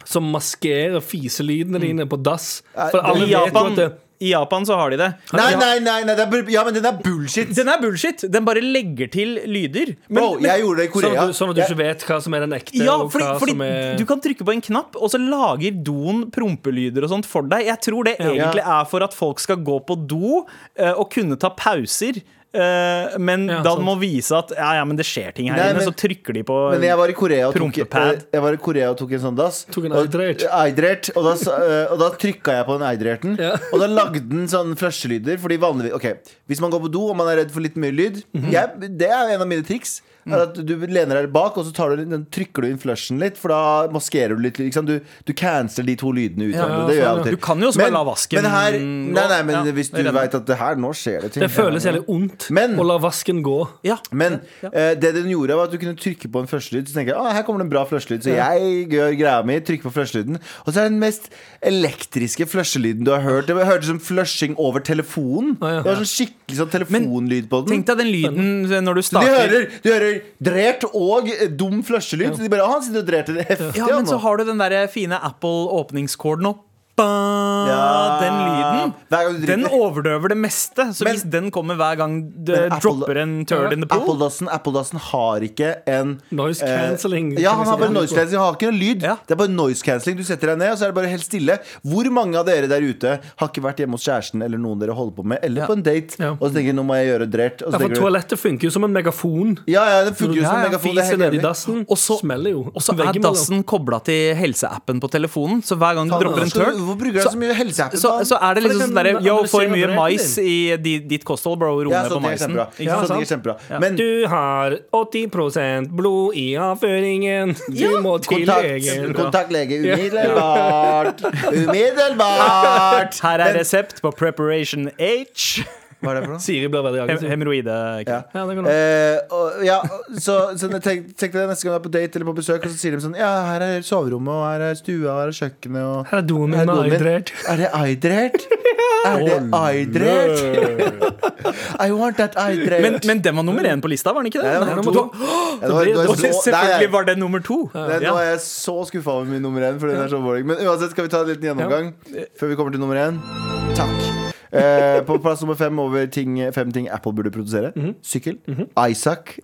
C: som maskerer fiselydene dine på dass. For
B: Eh,
C: alle
D: I
C: vet jo at
D: Japan,
C: det-
D: I Japan så har de det.
B: Nei, nei, nei, nei det er, bu- Ja, men den er bullshit
D: Den er bullshit. Den bare legger til lyder. Men-
B: Bro,
D: men-
B: jeg gjorde det i
C: Sånn
B: Korea
C: at du, sånn at du ikke vet hva som er den ekte,
D: Ja,
C: og
D: fordi,
C: hva
D: fordi
C: som er
D: du kan trykke på en knapp, og så lager doen prompelyder og sånt for deg. Jeg tror det egentlig er for at folk skal gå på do eh, og kunne ta pauser. eh, men
C: Ja,
D: da
C: sant.
D: må vise at ja, ja, men det skjer ting her
B: Nei,
D: inne,
B: men-
D: så trykker de på
B: Men jeg var i Korea og tok,
D: Prompepad.
B: eh, jeg var i Korea og tok en sånn dass.
C: Tok en
B: og-
C: eidrert.
B: eidrert, og, da, sa- eh, og da trykka jeg på den eidrerten. Og da lagde den sånn flasjelyder. Fordi vanligvis, ok, Hvis man går på do og man er redd for litt mye lyd jeg, Det er en av mine triks. Er at du lener deg bak, og så tar du, litt- den trykker du inn flushen litt. For da maskerer du litt. Ikke sant? Du, du canceler de to lydene ut. hverandre. det gjør jeg
C: sånn, ja.
B: alltid.
D: Du kan jo også bare
B: men,
D: la vasken
B: men her,
D: gå.
B: Nei, nei, men
D: Ja,
B: hvis du
D: jeg er enig.
B: veit at det her, nå skjer det ting.
C: Det føles jævlig ondt
B: Men-
C: å la vasken gå.
D: ja.
B: Men eh, det den gjorde var at du kunne trykke på en flushelyd. Så tenker jeg, ah, her kommer det en bra flushelyd Så jeg gjør greia mi, trykker på flushelyden. Og så er det den mest elektriske flushelyden du har hørt. Det hørtes som flushing over telefonen.
C: ja.
B: Det var sånn skikkelig sånn telefonlyd på den.
D: Tenk deg den lyden når du
B: Du
D: starter.
B: Sånn. hører, du hører drert og eh, dum flushelyd. Så de bare, ah, han sitter og drerte det heftig.
D: Ja,
B: han
D: men
B: nå.»
D: så har du den der fine Apple-åpningskorden og ba,
B: Ja.
D: Den
B: Hver gang du
D: lyden.
B: driter.
D: Den overdøver det meste. Så
B: Men-
D: hvis den kommer hver gang det
B: Men Apple-
D: Eh, dropper en turd in the pool
B: Appledassen Appledassen har ikke en
C: Noise cancelling.
B: Eh, ja, han har bare noise cancelling. Han har ikke noe lyd.
D: Ja.
B: Det er bare noise cancelling. Du setter deg ned, og så er det bare helt stille. Hvor mange av dere der ute har ikke vært hjemme hos kjæresten eller noen dere holder på med, eller
D: Ja.
B: på en date,
C: Ja.
B: og så tenker du, nå må jeg gjøre drert. Og
C: Ja,
B: så
C: for
B: tenker du,
C: toalettet funker jo som en megafon.
B: ja, ja, det funker jo
C: Ja,
B: som
C: ja,
B: megafon. Det er helt
C: Fiser nedi
B: enig.
C: dassen.
D: Og så-
C: smeller jo.
D: Og så er
C: Veggimellom.
D: dassen kobla til helseappen på telefonen, så hver gang du
B: Faen,
D: dropper en
B: hvorfor skal
D: turd
B: du- Hvorfor bruker du
D: så-
B: så mye helseappen?
D: så, så er det
C: For det
D: liksom
C: kan
D: sånn derre Yo, for
C: analysere
D: mye
C: brødet
D: mais
C: din.
D: i di, ditt kosthold, bro. Ro
B: ja,
D: ned på
B: sånn er
D: maisen.
B: kjempebra. Ikke
C: Ja,
B: sant?
C: sant.
B: Det er kjempebra. Men
C: Du har 80 blod i avføringen. Du må til legen.
B: kontakt, kontaktlege umiddelbart. Umiddelbart!
D: Her er resept på Preparation H.
B: Hva er det for noe?
C: Siri blir veldig
D: Hem-
C: aggressiv.
D: Hemoroide.
B: Ja.
D: Kim.
C: Ja, det kan du.
B: Eh, og, ja, så, så jeg tenk, tenk deg neste gang du er på date eller på besøk, og så sier de sånn Ja, her er soverommet, og her er stua, og her er kjøkkenet, og
C: Her er doen min
B: her
C: med
B: doen min.
C: eidrert.
B: Er det eidrert? Er det eidrert? I want that eidrert.
D: Men, men den var nummer én på lista, var den ikke det?
B: Ja, det var
D: Nei,
B: nummer
D: to.
B: Ja, det var- det var
D: Og
B: så-
D: selvfølgelig
B: der-
D: var det nummer to.
B: Nei,
D: Ja.
B: Nå er jeg så skuffa over min nummer én. For den er så boring. Men uansett skal vi ta en liten gjennomgang før vi kommer til nummer én. Takk. Eh, på plass nummer fem over ting, fem ting Apple burde produsere. Sykkel. Isaac.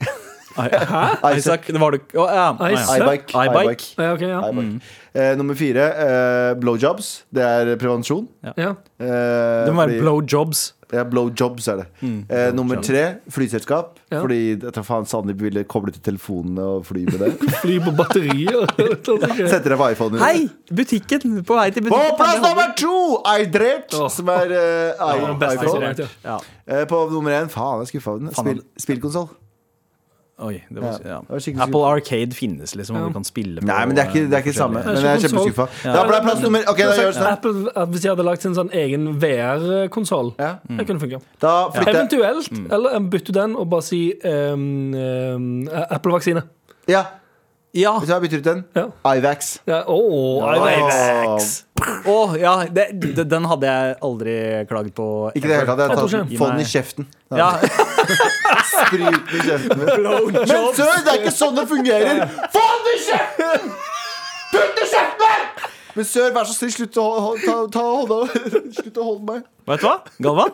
D: Hæ? Isaac, det var du Å, ja. Nei, ja.
C: Isaac.
B: iBike.
D: iBike.
B: iBike.
C: Ja, ok, ja.
B: iBike. Eh, nummer fire eh, blowjobs. Det er prevensjon.
C: ja.
B: Eh,
D: Det må være
B: fordi-
D: blow jobs.
B: Ja, blowjobs er det. eh, nummer tre fllyselskap.
C: Ja.
B: Fordi jeg tar faen Sandeep ville koble til telefonene og fly med det.
C: Fly på batterier.
B: Setter deg på iPhonen. din.
D: Hei! Butikken! På vei til
B: På
D: butikken.
B: plass nummer to! Eidrert, som er eh, i-
C: den beste
B: iPhone.
C: Eidrert, ja.
D: Ja.
B: Eh, på nummer én, faen, jeg er skuffa over den.
D: Faen,
B: Spill, spillkonsoll.
D: Oi, det
B: Ja,
D: var,
B: det
D: ja.
B: var skikkelig
D: Apple Arcade finnes, liksom, og du kan spille på
B: Nei, men det er ikke det er ikke
D: forskjellige-
B: samme. Men
C: ikke
B: jeg er
C: konsol.
B: kjempeskuffa. Da ble det plass nummer Ok, da gjør vi sånn.
C: Apple, at hvis de hadde lagt sin sånn egen VR-konsoll,
B: Ja. Mm.
C: det kunne funka.
B: Da flytter
C: Eventuelt. Eller um, bytte den og bare si um, um, Apple-vaksine.
B: Ja,
D: Ja.
B: vet du hva, jeg bytter ut den.
C: Ja.
B: Ivax.
C: Ja, åh,
B: Åh.
C: iVax.
D: Å, ja det, det, den hadde jeg aldri klaget på.
B: Ikke det hele tatt. Jeg
C: Jeg tror
B: tar
D: ikke.
B: Få den i kjeften.
D: Ja.
B: Sprut den i kjeften. Men sør, det er ikke sånn det fungerer! Få den i kjeften! Putt den i kjeften her! Men sør, vær så snill, slutt å ho- ta, ta hånda Slutt å holde meg.
D: Vet du hva, Galvan?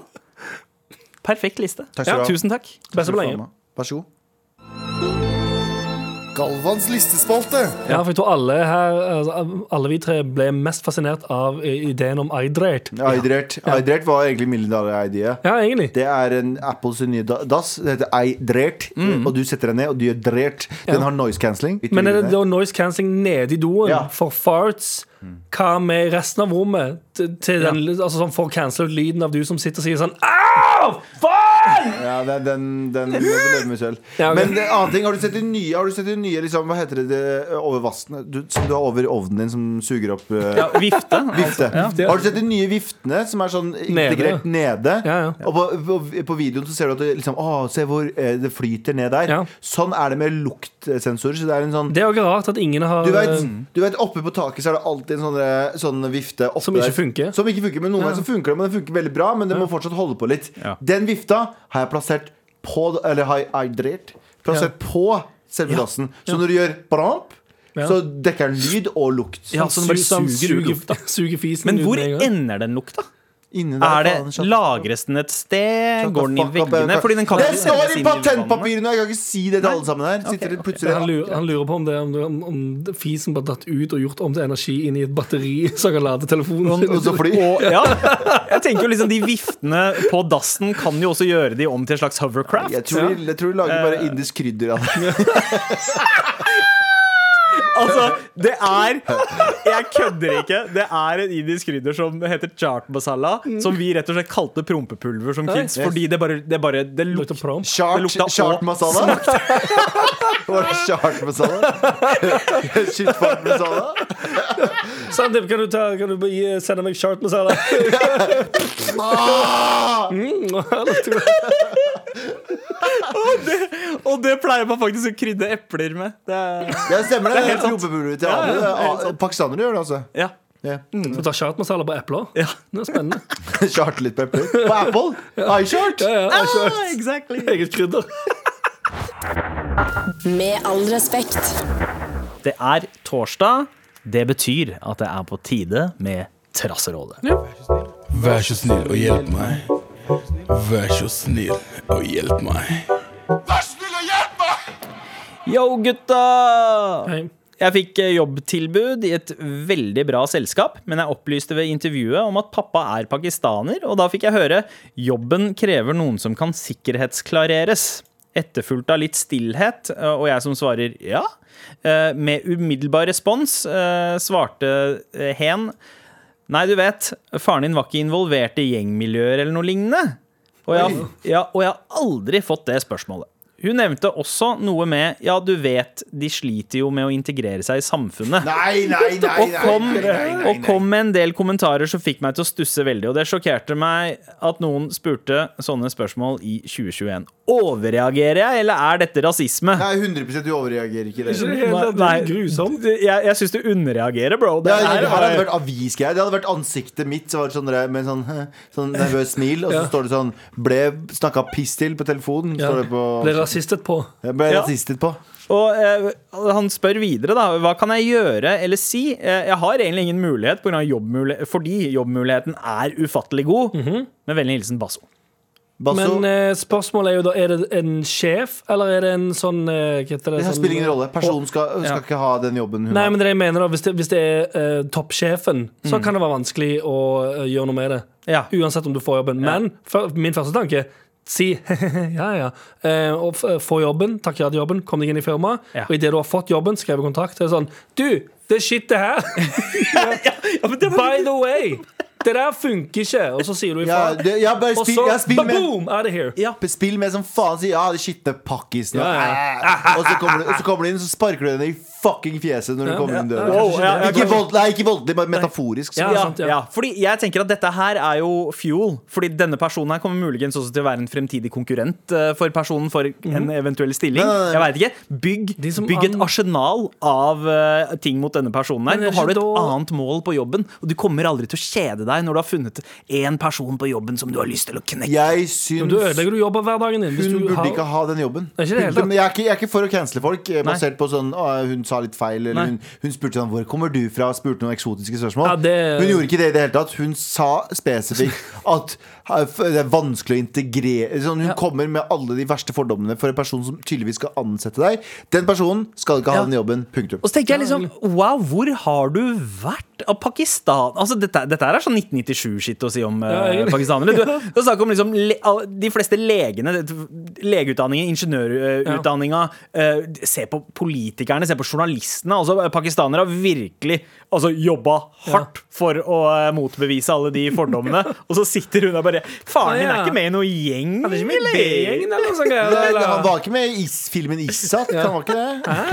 D: Perfekt liste.
B: Takk skal du ha.
D: Tusen takk.
C: Beste på lenge.
B: Vær så god.
E: Galvans listespalte.
C: Ja, for jeg tror alle her altså, Alle vi tre ble mest fascinert av eh, ideen om iDrate.
B: Eidrert. Eidrert var egentlig milliardær-idea.
C: Ja, egentlig.
B: Det er en Apples nye da- dass. Det heter Eidrert. Og du setter deg ned, og du gjør drert. Den
C: Mm. Ja.
B: har noise cancelling.
C: Men er det da noise cancelling nede i doen
B: Ja. Mm.
C: for farts? Hva med resten av rommet? Til, til den, altså, som får cancela ut lyden av du som sitter og sier sånn Au! Fuck!
B: Ja, den, den, den må du leve med selv.
C: Ja, ok.
B: Men en annen ting, har du sett de nye, har du sett de nye liksom, hva heter det, det over vassene du, Som du har over ovnen din, som suger opp eh,
D: Ja, vifte.
B: vifte?
C: ja.
B: Har du sett de nye viftene som er sånn integrert nede?
C: Ja, ja.
B: Og på, på, på videoen så ser du at det liksom Å, se hvor eh, det flyter ned der.
C: Ja.
B: Sånn er det med luktsensorer. Så det er en sånn
C: Det er jo ikke rart at ingen har eh,
B: du vet,
D: Eh,
B: du vet, oppe på taket så er det alltid en sånn, eh, sånn vifte oppe
C: Som ikke
B: der.
C: funker.
B: Som ikke funker, men Noen ganger så funker det, men den funker veldig bra. Men det må fortsatt holde på litt.
D: Ja.
B: Den vifta har jeg plassert på Eller har jeg hydrert Plassert på selve dassen. Så når du gjør bramp, så dekker den lyd og lukt. Sånn
D: Ja,
C: altså,
D: så den bare
C: Suger,
D: suger ut
C: suger,
D: lufta.
C: suger fisen
D: Men
C: ut
D: hvor
C: med en gang.
D: ender den lukta?
B: Inni
D: Er det,
B: faen, shut the
D: lagres den et sted?
B: fuck
D: Går den i
B: up, jeg
D: veggene?
B: kan-
D: Fordi den kan
B: det
D: ikke
B: står i
D: sendes inn i
B: patentpapirene! og Jeg kan ikke si det til alle sammen her. Sitter det plutselig
C: han, lurer, han lurer på om, det, om, det- om, om fisen bare datt ut og gjort om til energi inn i et batteri som kan lade telefonen.
B: og så fly.
D: Og, ja, jeg tenker jo liksom De viftene på dassen kan jo også gjøre de om til en slags hovercraft.
B: Jeg tror, de, jeg tror de lager
D: Eh,
B: bare indisk krydder av det.
D: Altså, det er Jeg kødder ikke. Det er en indisk krydder som heter chaat masala, som vi rett og slett kalte prompepulver som kids,
B: Yes.
D: fordi det bare Det, bare, det lukta
C: Lukter promp.
D: Det lukta
B: Chart, chart
D: og
B: masala? Var det chart masala? Shit fart masala?
C: Sandeep, kan du, ta, kan du gi, sende meg chart masala?
B: Ah!
C: Mm, lukter godt.
D: Og det pleier man faktisk å krydde epler med. Det er,
B: Det stemmer, det. det Prompepulver til alle. Ah, Pakistanere gjør det, altså. Mm.
D: ja.
B: Ja.
C: Skal du ta chart masala på epler?
D: Ja.
C: Det er spennende.
B: Chart litt pepper. På Apple? iChart?
D: Ah, exactly.
C: Eget krydder.
A: Med all respekt.
D: Det er torsdag. Det betyr at det er på tide med Trasserådet.
F: Vær så snill og hjelp meg. Vær så snill og hjelp meg.
D: Yo, gutta!
C: Hei.
D: Jeg fikk eh, jobbtilbud i et veldig bra selskap, men jeg opplyste ved intervjuet om at pappa er pakistaner, og da fikk jeg høre jobben krever noen som kan sikkerhetsklareres. Etterfulgt av litt stillhet, eh, og jeg som svarer ja. Eh, Med umiddelbar respons eh, svarte eh, hen Nei, du vet, faren din var ikke involvert i gjengmiljøer eller noe lignende. Og jeg, ja, og jeg har aldri fått det spørsmålet. Hun nevnte også noe med Ja, du vet, de sliter jo med å integrere seg i samfunnet.
B: Nei, nei, nei.
D: Og kom, og kom med en del kommentarer som fikk meg til å stusse veldig. Og det sjokkerte meg at noen spurte sånne spørsmål i 2021. Overreagerer jeg, eller er dette rasisme?
B: Nei, 100 du overreagerer ikke. i Det.
C: Ikke helt, det
D: Nei,
C: er grusomt.
D: Jeg, jeg syns du underreagerer, bro.
B: Det
D: Det
B: her
D: her
B: hadde
D: er
B: vært avisgreier. Det hadde vært ansiktet mitt så var det sånn, der med sånn, sånn nervøst smil, og så står det sånn Ble snakka piss til på telefonen. Står det på,
C: Ble rasistet på.
B: jeg ble
D: Ja.
B: rasistet på.
D: Og eh, han spør videre, da. Hva kan jeg gjøre eller si? Eh, jeg har egentlig ingen mulighet på grunn av jobbmul- fordi jobbmuligheten er ufattelig god.
C: Mhm.
D: Med vennlig hilsen Basso.
B: Basso,
C: Men eh, spørsmålet er jo da Er det en sjef, eller er det en sånn eh, Hva heter det?
B: det her
C: sånn-
B: spiller ingen rolle. Personen skal, skal ikke ha den jobben hun
C: Nei,
B: har.
C: men det er det jeg mener da Hvis det, hvis det er eh, toppsjefen, så kan det være vanskelig å eh, gjøre noe med det.
D: Ja.
C: Uansett om du får jobben. Men før- min første tanke Si ja, ja. Eh, og f- få jobben, takk ja til jobben, kom deg inn i firmaet.
D: Ja.
C: Og idet du har fått jobben, skrevet kontrakt, så er det sånn Du, det er shit, det her! By the way! Det der funker ikke! Og så sier du
B: Ja,
C: ifra.
B: det, jeg bare
C: og
B: spil,
C: så
B: jeg spiller med
C: boom! Out of here.
D: Ja.
B: Spill med som faen sier Ja, det skitne pakkisen
C: Ja,
B: Og så kommer du, og så kommer du inn Så sparker du henne i fucking fjeset Når du kommer inn døren
D: Wow, ja, ja,
B: Ikke
D: kanskje-
B: vold, Nei, ikke voldelig Bare metaforisk
C: Ja,
D: Ja,
C: sant,
D: ja. Fordi jeg tenker at dette her er jo fuel. Fordi denne personen her kommer muligens også til å være en fremtidig konkurrent eh, for personen for en eventuell stilling.
B: Nei, nei,
D: Jeg vet ikke. Bygg,
C: Mhm. De som
D: bygg et
C: an-
D: arsenal av eh, ting mot denne personen her.
C: Men er
D: Nå har du
C: det
D: et
C: ikke da-
D: annet mål på jobben, og du kommer aldri til å kjede deg når du har funnet én person på jobben som du har lyst til å knekke.
B: Jeg
C: Men du
B: syns
C: ødelegger du jobberhverdagen din. Hvis
B: hun
C: du
B: burde
C: har,
B: ikke ha den jobben
C: Nei, ikke i det hele tatt.
B: Men jeg, er ikke, jeg er ikke for å cancele folk eh, Basert på sånn å, Hun sa litt feil
D: Nei.
B: Eller hun, hun spurte sånn Hvor kommer du fra? Spurte noen eksotiske spørsmål
C: Ja, det-
B: Hun gjorde ikke det i det hele tatt Hun sa spesifikt At eh, f- det er vanskelig å integrere sånn, Hun kommer med alle de verste fordommene For en person som tydeligvis skal ansette deg Den personen skal ikke ha
D: Ja.
B: den jobben Punktum
D: Og så tenker jeg liksom, wow, hvor har du vært av Pakistan? Altså, dette, dette her er sånn 1997-shit å si om eh,
C: Ja, egentlig.
D: pakistanere. Du, du snakker om liksom, le, al- de fleste legene, det- legeutdanningen, ingeniørutdanninga. Se på eh, politikerne, se på journalistene, altså pakistanere, har virkelig altså, jobba hardt for å eh, motbevise alle de fordommene. Og så sitter hun der bare Faren din er ikke med i noen gjeng,
C: Er det ikke med i B-gjengen eller noe sånt?
B: Nei,
C: Eller?
B: han var ikke med i is filmen Isat, han var ikke det?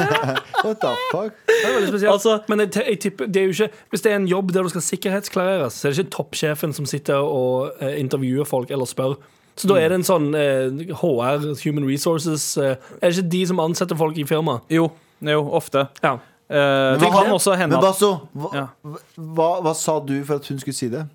B: What the fuck?
C: Det er veldig spesielt.
D: Altså-
C: Men jeg, te- jeg tipper, det er jo ikke, hvis det er en jobb der du skal sikkerhetsklareres, så er det ikke toppsjefen som sitter og eh, intervjuer folk eller spør. Så da er det en sånn eh, HR, Human Resources eh, Er det ikke de som ansetter folk i firmaet?
D: Jo, jo, ofte.
C: Ja.
D: Eh, det kan også hende
B: Men
D: at
B: Basso, hva,
D: Ja.
B: hva, hva sa du for at hun skulle si det?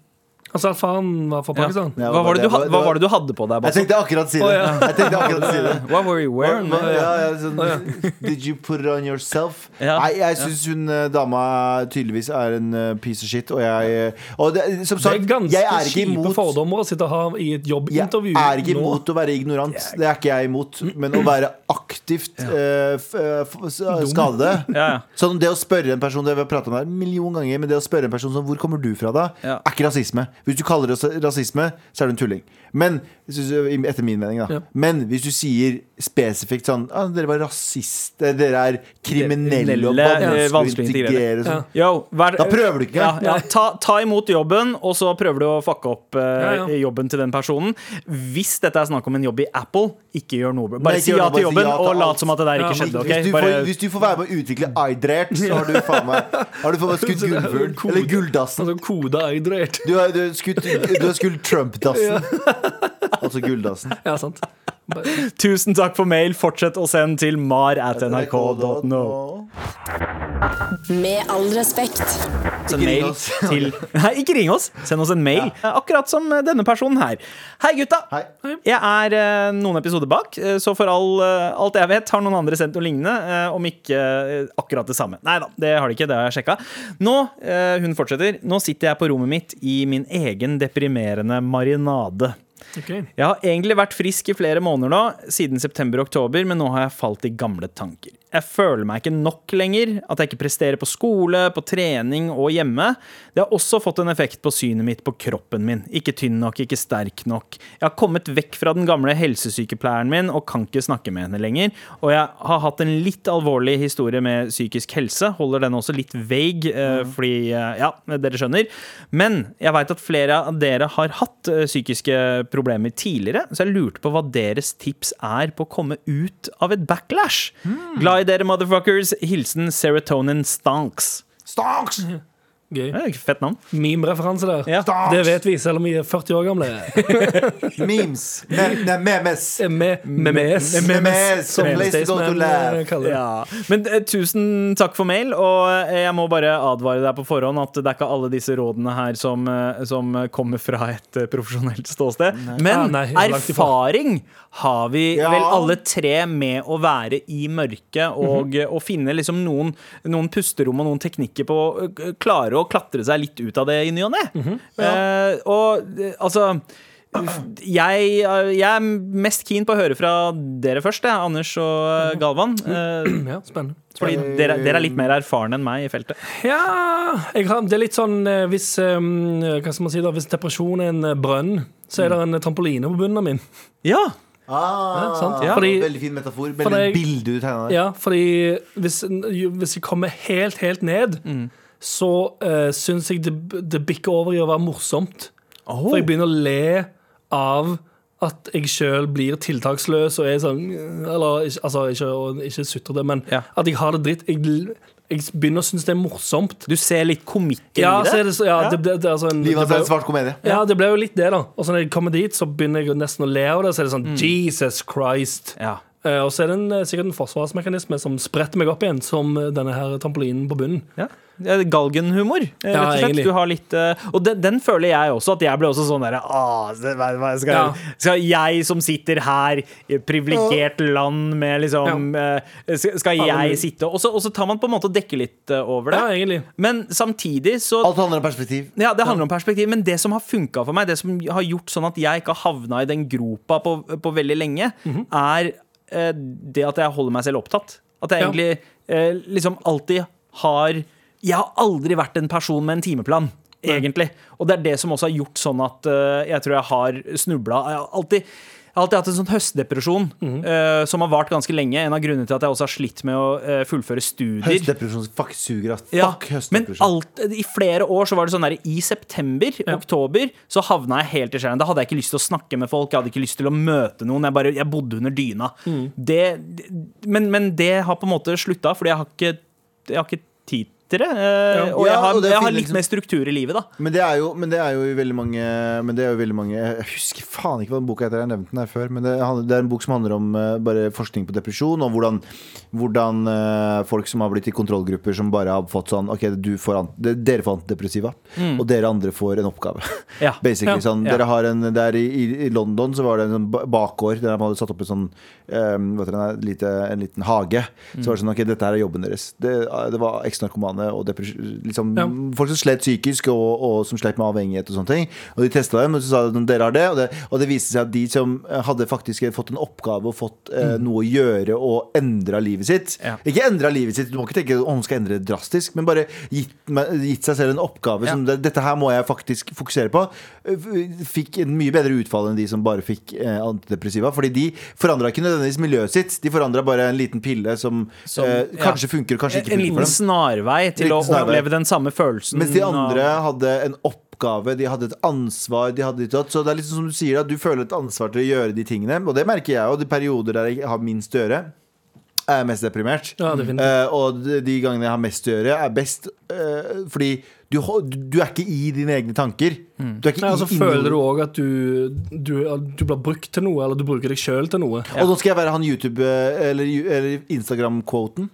C: Altså, faren var fra
D: Ja.
C: Pakistan.
B: Ja,
D: Hva var det sånn? du, ha-
B: det
D: hva
B: var-
D: var det du hadde på deg,
B: Jeg
D: Basse?
B: tenkte akkurat si det. Jeg tenkte akkurat si det
D: What were you wearing?
B: Men, ja, ja, sånn, Did you put it on yourself?
D: Ja.
B: Nei, jeg syns hun eh, dama tydeligvis er en eh, piece of shit, og jeg eh, Og det, som
C: Det er
B: sagt,
C: ganske
B: jeg er ikke
C: kjipe
B: imot
C: fordommer å sitte og ha i et
B: jeg
C: jobbintervju.
B: er ikke
C: nå.
B: imot å være ignorant, det er ikke jeg imot. Men å være aktivt eh, f- eh, f- s- skade
D: Ja, ja.
B: Sånn det å spørre en person Det vi har pratet om det her en million ganger Men det å spørre en person som Hvor kommer du fra da?
D: Ja.
B: Er ikke rasisme Hvis du kaller det ras- rasisme Så er du en tulling Men synes jeg- Etter min mening da
C: Ja.
B: Men hvis du sier spesifikt sånn ah, Dere var rasister Dere er kriminelle Og
D: Kriminelle,
B: vanskelig
D: eh,
B: å
D: vanskelig å
B: integrere
D: integrere.
B: og sånn.
D: Yo, vær,
B: Da prøver du ikke.
D: Ja, ja, ta, ta imot jobben, og så prøver du å fucke opp eh,
C: Ja, ja.
D: jobben til den personen. Hvis dette er snakk om en jobb i Apple, ikke gjør noe.
B: Nei,
D: Bare
B: ikke
D: si
B: gjør noe,
D: ja
B: bare
D: til
B: si
D: jobben,
B: ja til
D: og
B: alt.
D: lat som at det der
C: Ja,
D: ikke skjedde.
B: hvis,
D: ok?
B: du får,
D: Bare,
B: hvis du får være med å utvikle iDrert Så har du faen meg Har du faen meg skutt gullfuglen Eller gulldassen
C: Altså, kode er hydrert.
B: Du har du har skutt, du har skutt Trump-dassen Altså gulldassen
C: Ja, sant.
D: tusen takk for mail. Fortsett å sende til mar at nrk.no.
A: Med all respekt.
D: Send
B: ring
D: mail
B: oss.
D: til Nei, ikke ring oss! Send oss en mail. Akkurat som eh, denne personen her. Hei, gutta!
B: Hei.
D: Jeg er eh, noen episoder bak, eh, så for all, eh, alt jeg vet, har noen andre sendt noe lignende. eh, om ikke eh, akkurat det samme. Nei da, det har de ikke. Det har jeg sjekka. Nå, eh, hun fortsetter, nå sitter jeg på rommet mitt i min egen deprimerende marinade.
C: Ok.
D: Jeg har egentlig vært frisk i flere måneder nå, siden september og oktober, men nå har jeg falt i gamle tanker. Jeg føler meg ikke nok lenger, at jeg ikke presterer på skole, på trening og hjemme. Det har også fått en effekt på synet mitt på kroppen min. Ikke tynn nok, ikke sterk nok. Jeg har kommet vekk fra den gamle helsesykepleieren min og kan ikke snakke med henne lenger. Og jeg har hatt en litt alvorlig historie med psykisk helse, holder den også litt vague, eh, fordi eh, ja, dere skjønner. Men jeg veit at flere av dere har hatt eh, psykiske problemer tidligere, så jeg lurte på hva deres tips er på å komme ut av et backlash. Glad i dere, motherfuckers. Hilsen Serotonin Stanks.
B: Stonks!
C: Gøy.
D: Det er jo ikke Fett navn.
C: Meme-referanse der.
D: Ja.
C: Det vet vi, selv om vi er 40 år gamle.
B: Memes. Me- Nei, memes.
C: Med memes.
B: Memes, som place to go to laugh.
C: eh, kaller det.
D: Ja. Men eh, tusen takk for mail, og eh, jeg må bare advare deg på forhånd at det er ikke alle disse rådene her som, eh, som kommer fra et eh, profesjonelt ståsted. Men
C: Ah, nei, langt ifra.
D: erfaring har vi
B: Ja.
D: vel alle tre med å være i mørket og,
C: Mhm.
D: og finne liksom noen, noen pusterom og noen teknikker på å eh, klare å klatre seg litt ut av det i ny og ne.
C: Mhm.
D: Eh, og eh, altså jeg, eh, jeg er mest keen på å høre fra dere først, jeg, Anders og Galvan. Eh,
C: Ja, Mhm. spennende.
D: fordi dere, dere er litt mer erfarne enn meg i feltet.
C: Ja jeg har, Det er litt sånn eh, hvis, eh, hva skal man si da, hvis depresjon er en eh, brønn, så er det en eh, trampoline på bunnen av min.
D: Ja,
B: Ah,
C: Ja, sant.
B: ja.
C: Fordi-
B: veldig fin metafor. Veldig
C: for det-
B: bilde du tegna der.
C: Ja, fordi hvis, jo, hvis jeg kommer helt, helt ned, så uh, syns jeg det, det bikker over i å være morsomt. For jeg begynner å le av at jeg sjøl blir tiltaksløs og er sånn Eller ikke- altså, ikke, og ikke sutrete, men
D: Ja.
C: at jeg har det dritt. Jeg, jeg begynner å synes det er morsomt.
D: Du ser litt komikken
C: Ja,
D: i
C: så er
D: det.
C: det, så- ja,
D: Ja.
C: det, det, det er altså en-
B: Livet hans
C: det
B: er
C: ble-
B: en svart komedie.
C: ja, det ble jo litt det, da. Og så når jeg kommer dit, så begynner jeg nesten å le av det. Så er det sånn Jesus Christ.
D: Mm. Ja.
C: Eh, og så er det en, eh, sikkert en forsvarsmekanisme som spretter meg opp igjen, som eh, denne her trampolinen på bunnen.
D: Ja. Ja, det er Galgenhumor, eh,
C: Ja,
D: rett og slett.
C: egentlig.
D: Du har litt, eh, og den, den føler jeg også, at jeg ble også sånn derre ah, se- hva- hva skal,
C: Ja.
D: skal jeg som sitter her, i et privilegert land med liksom eh, Skal skal
C: Alle mulige.
D: jeg sitte Og så og så tar man på en måte og dekker litt eh, over det.
C: Ja, egentlig.
D: Men samtidig så
B: Alt handler om perspektiv.
D: Ja, det handler om perspektiv, men det som har funka for meg, det som har gjort sånn at jeg ikke har havna i den gropa på, på veldig lenge, er eh, det at jeg holder meg selv opptatt. At jeg
C: Ja.
D: egentlig eh, liksom alltid har Jeg har aldri vært en person med en timeplan. Egentlig. Og det er det som også har gjort sånn at eh, jeg tror jeg har snubla. Jeg har alltid Jeg har alltid hatt en sånn høstdepresjon eh, som har vart ganske lenge. En av grunnene til at jeg også har slitt med å eh, fullføre studier.
B: Høstdepresjon. Fuck suger, ass.
D: Ja,
B: Fuck
D: men
B: høstdepresjon.
D: alt, i flere år så var det sånn der I september, oktober, så havna jeg helt i skjæren. Da hadde jeg ikke lyst til å snakke med folk, jeg hadde ikke lyst til å møte noen. Jeg, bare, jeg bodde under dyna.
B: Mm.
D: Det, men, men det har på en måte slutta, fordi jeg har ikke, jeg har ikke tid til det. eh, Og
B: Ja,
D: jeg har,
B: og det er
D: jeg
B: fint,
D: har litt
B: liksom.
D: mer struktur i livet, da.
B: Men det, er jo, men det er jo i veldig mange Men det er jo i veldig mange Jeg husker faen ikke hva den boka heter. Jeg har nevnt den her før. Men det, handler- det er en bok som handler om eh, bare forskning på depresjon, og hvordan, hvordan eh, folk som har blitt i kontrollgrupper, som bare har fått sånn OK, du får ant- det- dere får antidepressiva, og dere andre får en oppgave.
D: Ja.
B: Basically
D: Ja.
B: sånn
D: Ja.
B: Dere har en Der i, i, i London så var det en sånn ba- bakgård der man hadde satt opp en sånn um, vet dere, en, lite, en liten hage. Så var det sånn Ok, dette her er jobben deres. Det, ah, det var eksnarkomane og depres- liksom,
C: Ja.
B: folk som slet psykisk og, og som slet med avhengighet og sånne ting. Og de testa dem, og så sa de at dere har det. Og det, og det viste seg at de som eh, hadde faktisk fått en oppgave og fått eh, noe å gjøre og endra livet sitt
D: Mm. Ja.
B: Ikke endra livet sitt, du må ikke tenke at hun skal endre det drastisk, men bare gitt, meg- gitt seg selv en oppgave
D: Ja.
B: som det, dette her må jeg faktisk fokusere på. F- Fikk en mye bedre utfall enn de som bare fikk eh, antidepressiva. Fordi de forandra ikke nødvendigvis miljøet sitt, de forandra bare en liten pille som,
D: Som-
B: eh,
D: ja.
B: kanskje funker, kanskje ikke
D: En
B: funker for
D: liten
B: dem.
D: snarvei til
B: Liten
D: å
B: snarvei.
D: oppleve den samme følelsen.
B: Mens de
D: av-
B: andre hadde en oppgave, de hadde et ansvar. De hadde ditt og datt. så det er liksom som du sier, at du føler et ansvar til å gjøre de tingene. Og det merker jeg jo. De perioder der jeg har minst å gjøre, er jeg mest deprimert.
C: Ja, definitivt.
B: Eh, og de- de gangene jeg har mest å gjøre, er best eh, fordi du, ho- du er ikke i dine egne tanker. Du er ikke
C: Nei, altså,
B: i, inni
C: føler
B: hodet.
C: du òg at du, du, du blir brukt til noe, eller du bruker deg sjøl til noe.
B: Og nå skal jeg være han YouTube- eh, eller, eller Instagram-quoten.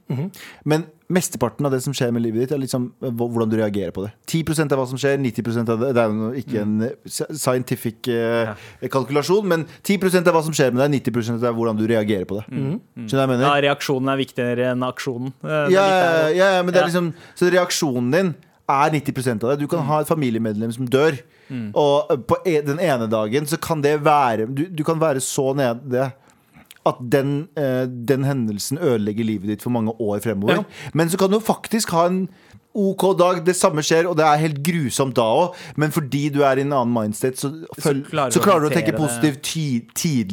B: Men mesteparten av det som skjer med livet ditt, er liksom hv- hvordan du reagerer på det. 10 av hva som skjer, 90 av det Det er jo ikke en eh, s- scientific eh, kalkulasjon, men 10 av hva som skjer med deg, 90 er hvordan du reagerer på det. Skjønner du hva jeg mener?
D: Ja, reaksjonen er viktigere enn aksjonen. Eh, det er
B: ja,
D: litt der, da.
B: ja, ja, ja, men det er
D: Ja.
B: liksom Så reaksjonen din er 90 av det. Du kan ha et familiemedlem som dør,
D: Mm.
B: og på e- den ene dagen så kan det være Du, du kan være så nede at den, eh, den hendelsen ødelegger livet ditt for mange år fremover. Men så kan du faktisk ha en OK dag, det samme skjer, og det er helt grusomt da òg, men fordi du er i en annen mindset, så, føl, så, klarer,
D: klarer du å
B: du å tenke
D: håndtere det. Mm.
B: positivt ti,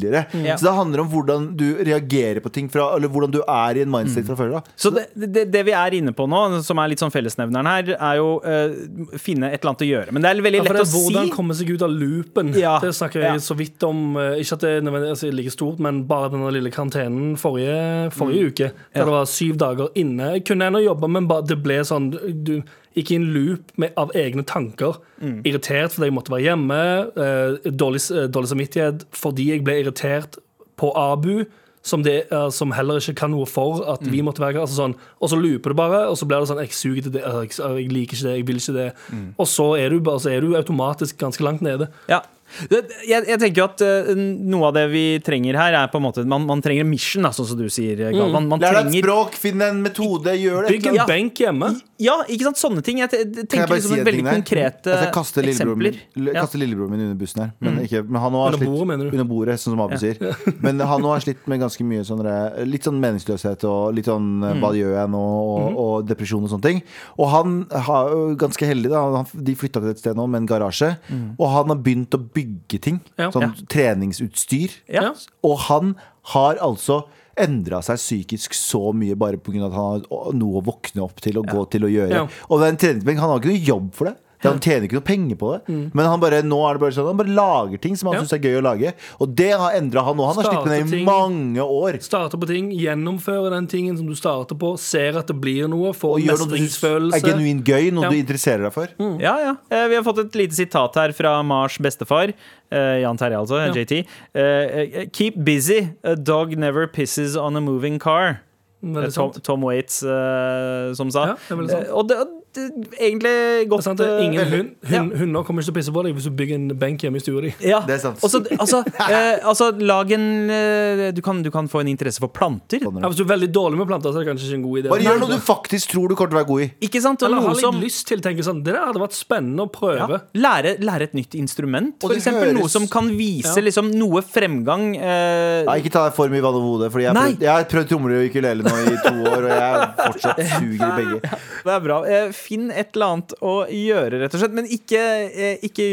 B: tidligere.
D: Ja.
B: Så det handler om hvordan du reagerer på ting, fra, eller hvordan du er i en
D: Mm.
B: mindset fra før av.
D: Så det, det, det vi er inne på nå, som er litt sånn fellesnevneren her, er jo eh, finne et eller annet å gjøre. Men det er veldig
C: Ja, for
D: lett å
C: det er
D: si.
C: hvordan komme seg ut av loopen.
D: Ja,
C: Det snakker jeg
D: ja.
C: så vidt om. eh, Ikke at det er nødvendigvis altså, like stort, men bare den lille karantenen forrige, forrige uke, der
D: Mm. Ja.
C: det var syv dager inne. Jeg kunne ennå jobbe, men bare, det ble sånn Du gikk i en loop med, av egne tanker.
D: Mm.
C: Irritert fordi jeg måtte være hjemme. eh, dårlig, s- eh, dårlig samvittighet fordi jeg ble irritert på Abu. Som, det, eh, som heller ikke kan noe for at
D: Mm.
C: vi måtte være altså sånn, Og så looper det bare, og så blir det sånn Jeg suger til det, eh, jeg, jeg liker ikke det, jeg vil ikke det.
D: Mm.
C: Og så er, du, bare- så er du automatisk ganske langt nede.
D: Ja. Det- Jeg, jeg tenker jo at eh, noe av det vi trenger her, er på en måte Man, man trenger en mission, da, sånn som du sier, Gal. Man, man
B: Lær deg et
D: trenger
B: språk, finn en metode, gjør det.
C: Bygg en
D: Ja.
C: benk hjemme.
D: Ja, ikke sant? Sånne ting. Jeg te-
B: Kan jeg
D: tenker
B: bare si
D: liksom
B: en
D: veldig
B: ting der? Altså,
D: konkrete
B: Jeg skal kaste lillebroren min,
D: eksempler.
B: l-
D: Ja. Mm.
B: kaste lillebroren min under bussen her. Men, ikke, men han nå har
C: Under bordet, mener
B: slitt
C: du?
B: under bordet, sånn som Abu sier. Men han nå har slitt med ganske mye sånn der- litt sånn meningsløshet og litt sånn
D: Mm.
B: eh, hva gjør jeg nå, og, og depresjon og sånne ting. Og han har jo ganske heldig, da. Han, de flytta til et sted nå med en garasje,
D: Mm.
B: og han har begynt å bygge ting.
C: Ja.
B: Sånn
C: Ja.
B: treningsutstyr.
D: Ja.
B: Og han har altså endra seg psykisk så mye bare pga. at han har noe å våkne opp til og gå til å gjøre.
C: Ja.
B: Og det er en treningsbenk. Han har ikke noe jobb for det. Det- Han tjener ikke noe penger på det. Men han bare, nå er det bare sånn Han bare lager ting som han
C: Mm. Ja.
B: synes er gøy å lage. Og det har endra han nå. Han har slitt med det
C: Starter
B: i
C: ting.
B: mange år.
C: Starter på ting, gjennomfører den tingen som du starter på, ser at det blir noe, får
B: Og gjør noe du synes er
C: mestringsfølelse.
B: genuint gøy, noe
C: Ja. Mm.
B: du interesserer deg for.
D: Ja, ja. Eh, Vi har fått et lite sitat her fra Mars bestefar. Eh, Jan Terje, altså. JT. Eh, Keep busy. A dog never pisses on a moving car.
C: Veldig
D: Eh, Tom,
C: sant.
D: Tom Waits eh, som sa.
C: Ja, det er veldig sant.
D: Eh, og det, og det egentlig
C: Det er
D: godt
C: sant, det er ingen
D: eh,
C: hund,
D: Ja.
C: hund, Hunder kommer ikke til å pisse på deg hvis du bygger en benk hjemme i stua di.
D: Ja.
B: Det er sant.
D: Og så- altså, eh, altså, lag en eh, du, kan, du kan få en interesse for planter.
B: Sånn,
C: Ja, hvis du er veldig dårlig med planter, så er det kanskje ikke en god idé.
B: Bare gjør noe du faktisk tror du kommer til å være god i.
D: Ikke sant? Og
C: Eller
D: noe
C: har litt
D: som
C: lyst til å tenke sånn Det der hadde vært spennende å prøve.
D: Ja. Lære, lære et nytt instrument,
B: Og
D: for
B: det
D: eksempel. Noe
B: høres-
D: som kan vise
C: Ja.
D: liksom, noe fremgang. eh,
B: Nei, ikke ta deg for mye vann over hodet. Fordi jeg har
D: Nei.
B: prøvd- jeg har prøvd trommer og ukulele nå i to år, og jeg fortsatt suger i begge.
D: Det er bra. Eh, finn et eller annet å gjøre, rett og slett. Men ikke, eh, ikke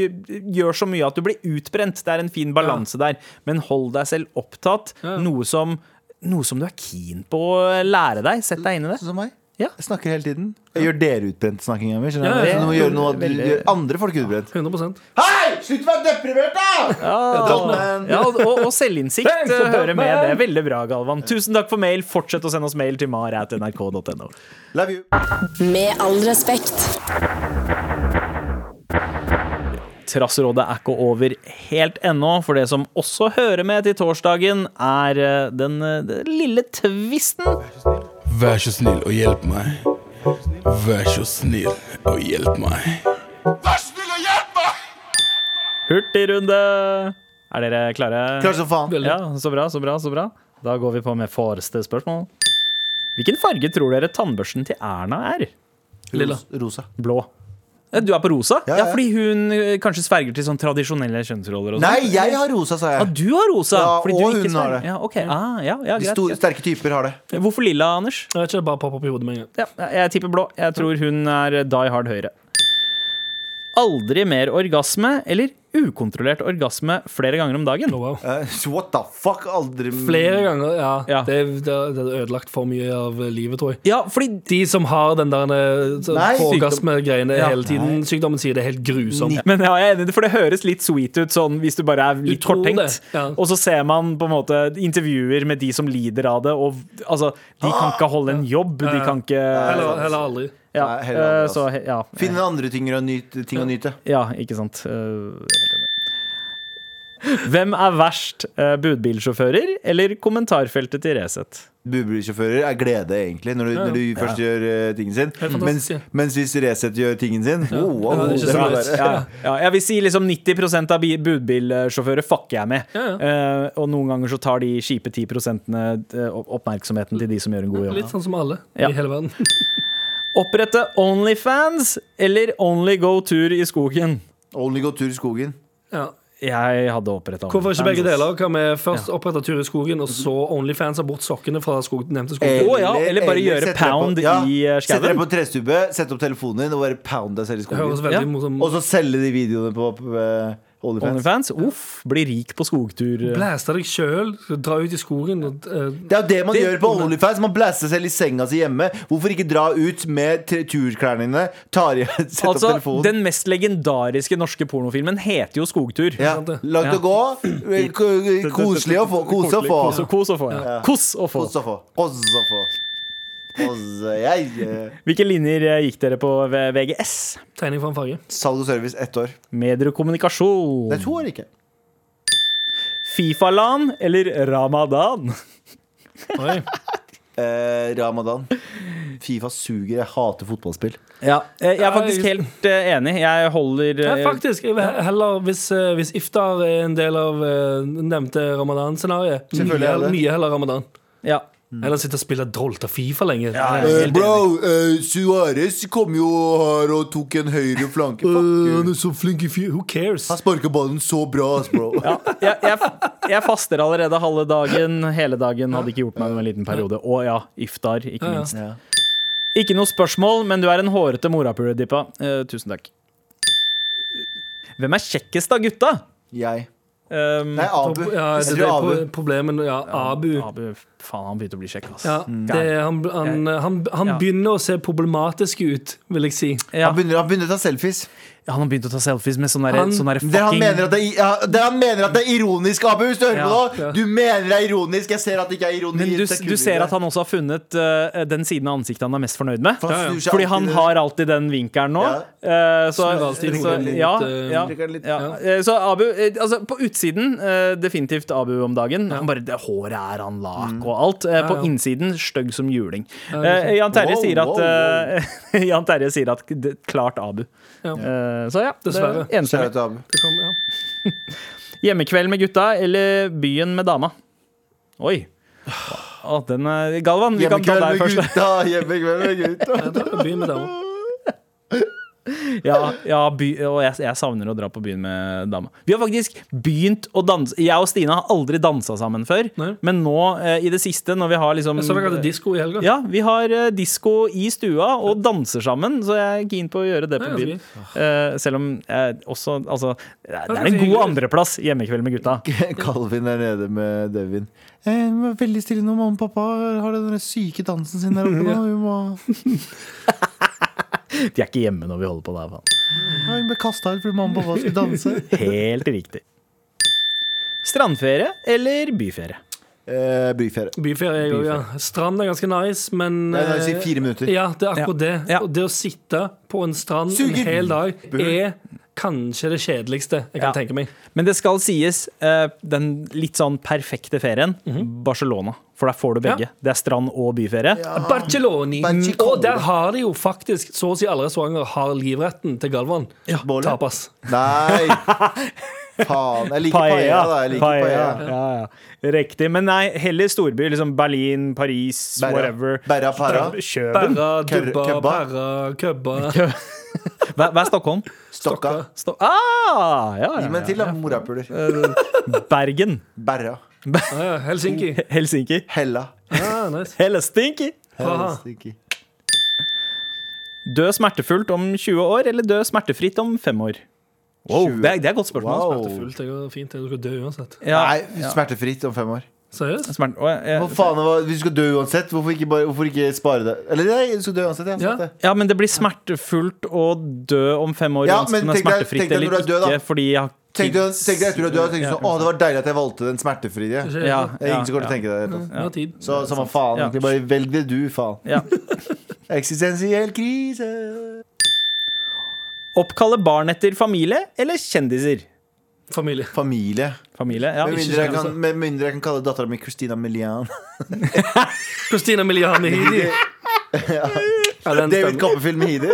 D: gjør så mye at du blir utbrent. Det er en fin balanse der. Men hold deg selv opptatt. Noe, som, noe som du er keen på å lære deg. Sett deg inn i det.
B: Sånn som meg.
D: Ja.
B: Jeg snakker hele tiden. Jeg gjør dere utbrent snakkinga mi.
C: Ja,
B: Ja,
C: ja,
B: du må
C: ja.
B: gjøre noe, du
D: Veldig-
B: gjør andre folk utbrent.
C: 100
B: Hei! Slutt å være deprimert, da! Dalton.
D: Ja, og, og selvinnsikt
C: Thanks,
D: eh, hører med.
C: Dalton.
D: Det er veldig bra, Galvan. Tusen takk for mail. Fortsett å sende oss mail til mar.nrk.no.
B: Love you.
A: Med all respekt.
D: Trassrådet er ikke over helt ennå, for det som også hører med til torsdagen, er eh, den, eh, den lille tvisten.
F: Vær så snill og hjelp meg. Vær så snill og hjelp meg.
D: Hurtigrunde! Er dere klare?
B: Klar som faen.
C: Veldig.
D: Ja, så bra, så bra, så bra. Da går vi på med forreste spørsmål. Hvilken farge tror dere tannbørsten til Erna er?
C: Lilla.
B: Ros- Rosa.
D: Blå. Eh, Du er på rosa?
B: Ja,
D: Ja,
B: ja.
D: fordi hun eh, kanskje sverger til sånn tradisjonelle kjønnsroller og sånn.
B: Nei, jeg har rosa, sa
D: Ja,
B: jeg.
D: du har rosa!
B: Ja,
D: fordi du
B: og
D: ikke
B: hun har
D: sverger.
B: det.
D: Ja, ok. Ah, ja, ja,
B: De
D: greit,
B: store,
D: greit.
B: sterke typer har det.
D: Hvorfor lilla, Anders?
C: Jeg vet ikke, det bare popper opp i hodet med en gang.
D: Ja, jeg tipper blå. Jeg tror hun er die hard høyre. Aldri mer orgasme eller ukontrollert orgasme flere ganger om dagen.
C: Oh, wow.
B: Eh, what the fuck? Aldri
C: Flere ganger, ja.
D: Ja.
C: Det, det, det er ødelagt for mye av livet, tror jeg.
D: Ja, fordi
C: De som har den der eh, så-
B: Nei, sykdom.
C: orgasme-greiene
D: Ja.
C: hele tiden, sykdommen sier det er helt grusomt.
D: Men ja, jeg er enig, i det, for det høres litt sweet ut sånn, hvis du bare er litt
C: tror
D: korttenkt.
C: det, ja.
D: Og så ser man på en måte intervjuer med de som lider av det, og altså, de kan ikke holde en jobb.
C: Eh,
D: De kan ikke
C: Heller, heller aldri.
B: eh,
D: ja,
B: Nei, heller aldri,
D: eh,
B: altså.
D: så, he- ja,
B: Finne andre ting å nyte. Ting å nyte.
D: ja, ikke sant. Eh, helt enig. Hvem er verst? eh, Budbilsjåfører eller kommentarfeltet til Resett?
B: Budbilsjåfører er glede, egentlig, når du, når du først gjør eh, tingen sin. Mens,
C: fantastisk, ja.
B: mens hvis Resett gjør tingen sin oh, wow,
C: Ja, det er ikke
B: det
C: så
B: må
C: nice.
B: være-
D: ja, ja, jeg vil si liksom 90 av bi- budbilsjåfører fucker jeg med.
C: Ja, ja.
D: Eh, og noen ganger så tar de kjipe 10 eh, oppmerksomheten til de som gjør en god jobb.
C: Litt sånn som alle
D: Ja.
C: i hele verden.
D: Opprette Onlyfans eller Only Go Tur i skogen?
B: Only go tur i skogen.
C: Ja.
D: Jeg hadde oppretta
C: Hvorfor ikke begge
D: ass.
C: deler? Kan vi først opprette tur i skogen, og så Onlyfans har bort sokkene fra skog, nevnte skogen?
B: Eh,
D: Å ja, eller bare gjøre
B: sette deg
D: pound i, eh, skauen.
B: Sette deg på trestubbe, sette opp telefonen din og bare pound deg selv i
C: Det høres
B: skogen.
C: veldig
D: Ja.
C: morsomt
B: Og så selge de videoene på eh, OnlyFans.
D: Onlyfans? Uff, bli rik på skogtur.
C: Blæste deg sjøl, dra ut i skogen og eh,
B: Det er jo det man
D: Det-
B: gjør på OnlyFans. Man blaster selv i senga si hjemme. Hvorfor ikke dra ut med tre- turklærne dine, tar i, sette
D: Altså,
B: opp telefonen
D: Den mest legendariske norske pornofilmen heter jo Skogtur.
B: ja. Langt å gå. K- Koselig å få. Kose å få.
D: Kos og- Kos og få. Ja. Kos og få.
B: Kose å få. Kose å få. Kose. Jeg eh,
D: Hvilke linjer eh, gikk dere på V- VGS?
C: tegning fra en farge.
B: Salg og service ett år.
D: Medier og kommunikasjon.
B: Det er to år, ikke.
D: Fifa-lan eller ramadan?
C: Oi.
B: Eh, Ramadan. Fifa suger. Jeg hater fotballspill.
D: Ja, eh, jeg er faktisk
C: Ja, jeg-
D: helt eh, enig. Jeg holder
C: Ja,
D: eh,
C: faktisk. Jeg vil heller, hvis, eh, hvis iftar er en del av eh, nevnte ramadan-scenario, mye,
B: Selvfølgelig er det.
C: mye heller ramadan.
D: ja.
C: Mm. Eller sitte og spille Drolt av Fifa lenge.
D: Ja, ja. Helt
B: Eh, bro, uh, Suárez kom jo her og tok en høyre flanke.
D: Øh.
B: Fuck you.
C: er så flink i fyr. Who cares?
B: Han sparka ballen så bra, ass, bro.
D: Ja, jeg, jeg, jeg faster allerede halve dagen. Hele dagen hadde ikke gjort meg noe en liten periode. Og ja, iftar, ikke
C: Ja, ja.
D: minst.
B: Ja.
D: Ikke noe spørsmål, men du er en hårete morapuledippa. Eh, tusen takk. Hvem er kjekkest av gutta?
B: Jeg.
D: Um,
B: Nei, Abu.
C: Ja,
B: Jeg
C: det, det
B: tror
C: er
B: Altså, Abu.
C: pro- problemet. Ja, Abu.
D: Abu, faen, han begynte å bli kjekk, ass.
C: Ja, det, er- han han, han, han
D: Ja.
C: begynner å se problematisk ut, vil jeg si.
D: Ja,
B: Han begynner, han begynner å ta selfies.
D: han har begynt å ta selfies med sånn derre
C: Han-
D: sånn derre
B: Det han,
D: fucking
B: mener at det, er i- ja, det han mener at det er ironisk, Abu. Hvis du hører på
D: Ja,
B: nå.
C: ja.
B: Du mener det er ironisk. Jeg ser at det ikke er ironi.
D: Men
B: i
D: du,
B: et sekund
D: du
B: i
D: ser
B: det.
D: at han også har funnet eh, den siden av ansiktet han er mest fornøyd med.
B: For han snur seg
D: Fordi
B: alltid
D: han
B: ned.
D: har alltid den vinkelen nå. Eh, så,
C: Snur alltid
D: så,
C: hodet litt,
D: ja,
C: eh,
D: ja,
B: trekker den litt.
D: ja. Eh, så Abu eh, altså, På utsiden eh, definitivt Abu om dagen. Han bare, det Håret er
B: Mm.
D: han lak og alt. Eh, på
C: ja.
D: innsiden stygg som juling. Eh, Jan Terje
B: Wow,
D: sier at
B: wow, wow.
D: eh, Jan Terje sier at det, klart Abu.
C: Ja.
D: Eh, så ja, det er
C: Dessverre.
B: Ser
D: enstemmig.
B: ut til Abu.
C: Det kom, ja.
D: Hjemmekveld med gutta eller byen med dama? Oi. Å, den er, Galvan, vi kan ta
B: Hjemmekveld
D: deg
B: med
D: først.
B: gutta. Hjemmekveld med gutta.
C: Jeg tror jeg begynner med dama.
D: Ja, ja by, og jeg, jeg savner å dra på byen med dama. Vi har faktisk begynt å danse. Jeg og Stina har aldri dansa sammen før,
C: Nei.
D: men nå eh, i det siste, når vi har liksom
C: Jeg så dere hadde disko i helga.
D: ja, vi har eh, disko i stua og danser sammen, så jeg er keen på å gjøre det på
C: Ja,
D: byen.
C: så
D: Eh, selv om jeg også Altså, det er- det er
C: det
D: en
C: er
D: god
C: hyggelig.
D: andreplass hjemmekveld med gutta.
B: Calvin er nede med Devin. Eh, vi må være veldig stille nå, mamma og pappa har den der syke dansen sin der oppe. nå. Vi må
D: De er ikke hjemme når vi holder på der. Faen.
B: ja, Hun ble kasta ut fordi mamma og pappa skulle danse.
D: Helt riktig. Strandferie eller byferie?
B: Eh, Byferie.
C: Byferie er jo, ja. Strand er ganske nice, men
B: Nei, nei, si
C: eh,
B: fire minutter.
C: Ja, det er akkurat det.
D: Ja.
C: Og det å sitte på en strand
B: Suger.
C: en hel dag
B: Bø.
C: er kanskje det kjedeligste jeg kan
D: Ja.
C: tenke meg.
D: Men det skal sies, eh, den litt sånn perfekte ferien, Barcelona. For der får du begge.
C: Ja.
D: Det er strand og byferie.
C: Barcelona.
B: Barcelona.
C: Ah, Og der har de jo faktisk så å si alle restauranter har livretten til Galvan.
B: Bålet.
C: Tapas.
B: Nei! Faen. Jeg liker paella, da. Jeg liker paella.
D: Ja, ja. Riktig. Men nei, heller storby. Liksom Berlin, Paris,
B: Berra-
D: whatever.
B: Berra para.
D: Kjøben.
C: Berra,
B: Køb-
C: dubba,
B: købba.
C: berra, købba.
D: Hva, hva er Stockholm?
B: Stokka.
D: Sto ah, ja,
B: Gi
D: ja,
B: meg en til, da. Morapuler.
D: ja. Bergen.
B: Berra.
C: Ah, ja, Helsinki.
D: Helsinki.
B: Hella.
C: Ah, nice.
D: Hellestinki.
C: Haha.
B: Helsike.
D: Dø smertefullt om 20 år, eller dø smertefritt om 5 år? Wow,
B: 20.
D: det, er, det er et godt spørsmål. altså.
B: Wow.
C: Fullt, det går fint. Du skal dø uansett.
D: Ja,
B: Nei, smertefritt om fem år.
C: Seriøst?
D: smert, å, jeg,
B: Hva faen, hva- hvis du skal dø uansett, hvorfor ikke, bare, hvorfor ikke spare det? Eller nei, du skal dø uansett. Jeg, har
C: Ja.
B: sagt det.
D: Ja, men det blir smertefullt å dø om fem år.
B: Ja,
D: uansett
B: men tenk
D: om det er
B: deg-
D: smertefritt
B: tenk deg når
D: eller
B: du er død, da.
D: ikke, fordi jeg har
B: Tenk deg
D: kids.
B: tenk deg etter du har dødd og tenk sånn Å, det var deilig at jeg valgte den smertefrie. Det
C: Ikke-
D: Ja,
B: er
D: ja,
B: ingen som kommer til å
D: ja,
B: tenke det. i det hele tatt.
C: Vi har tid.
B: Så samme faen.
D: Ja.
B: egentlig Bare velg det du, faen.
D: ja.
B: Eksistensiell krise.
D: Oppkalle barn etter familie eller kjendiser?
C: Familie.
B: Familie.
D: Familie, ja. altså.
B: Med mindre jeg kan, med mindre jeg kan kalle dattera mi Christina Milian.
C: Christina Miliani Hidi. Ja, den
B: David
C: stemmer.
B: Copperfield med Heidi.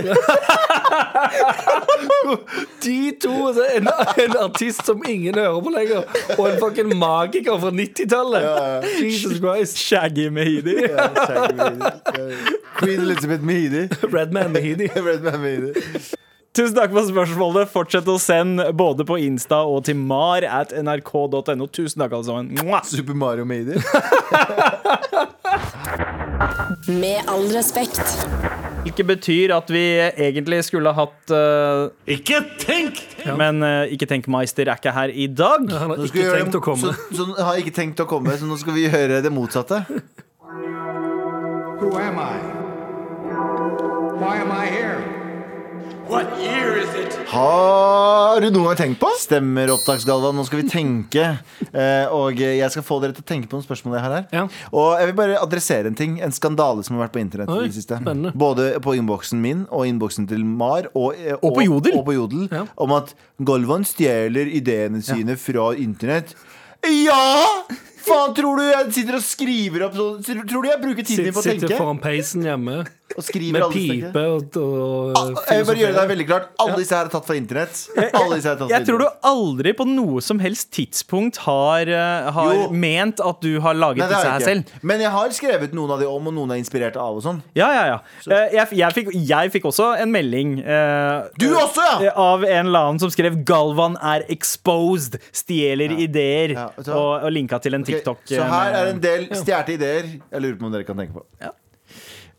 C: De to! altså, En, en artist som ingen hører på lenger, og en fucking magiker fra 90-tallet. Jesus Christ.
D: Shaggy Mehidi.
B: Ja, kjære med Heidi. Queen Elizabeth med Heidi.
C: Redman med Hidi.
B: Red Man med Heidi.
D: Tusen takk for spørsmålet. Fortsett å sende både på Insta og til mar at nrk.no. Tusen takk, alle sammen. Mwah!
B: Super Mario med Heidi.
A: Med all respekt.
D: Hvilket betyr at vi egentlig skulle ha hatt eh,
G: Ikke tenk!
D: Men eh, ikke tenk, Meister er ikke her i dag.
C: Han har
B: Nå skal vi
C: ikke
B: gjøre
C: tenkt
B: det-
C: å komme.
B: Så, så, har ikke tenkt å komme, så nå skal vi gjøre det motsatte.
H: Who am I? Why am I here?
G: What year is it?
B: Har du noen gang tenkt på? Stemmer, opptaksgalvan. Nå skal vi tenke. Eh, og jeg skal få dere til å tenke på noen spørsmål jeg har her.
C: Ja.
B: Og jeg vil bare adressere en ting. En skandale som har vært på internett. i
C: Oi,
B: det siste
C: spennende.
B: Både på innboksen min og innboksen til Mar. Og, eh,
D: på Jodel.
B: Og på jodel
C: Ja.
B: Om at Galvan stjeler ideene sine fra internett. Ja! Faen, tror du jeg sitter og skriver opp sånn? Tror du jeg bruker tiden min
C: Sitter,
B: på å tenke?
C: sitter foran peisen hjemme
B: Og skriver
C: med
B: alle stykker?
C: pipe og, og
B: Ah,
D: eh,
B: Jeg vil bare gjøre det veldig klart Alle disse her er tatt fra internett. Alle disse her er tatt fra
D: Jeg tror du
B: internett.
D: aldri på noe som helst tidspunkt har, eh, har
B: Jo.
D: ment at du har laget
B: Nei, det
D: disse
B: har jeg
D: her selv.
B: ikke. Men jeg har skrevet noen av de om, og noen er inspirert av og sånn.
D: Ja, ja, ja. Eh, Jeg, f- jeg, fikk, jeg fikk også en melding eh,
B: Du også, ja!
D: eh, av en eller annen som skrev 'Galvan er exposed', stjeler ideer,
B: Ja, vet du hva?
D: og, og linka til en
B: Ok,
D: TikTok. eh,
B: så her
D: med-
B: er en del stjålne ideer. Jeg lurer på om dere kan tenke på.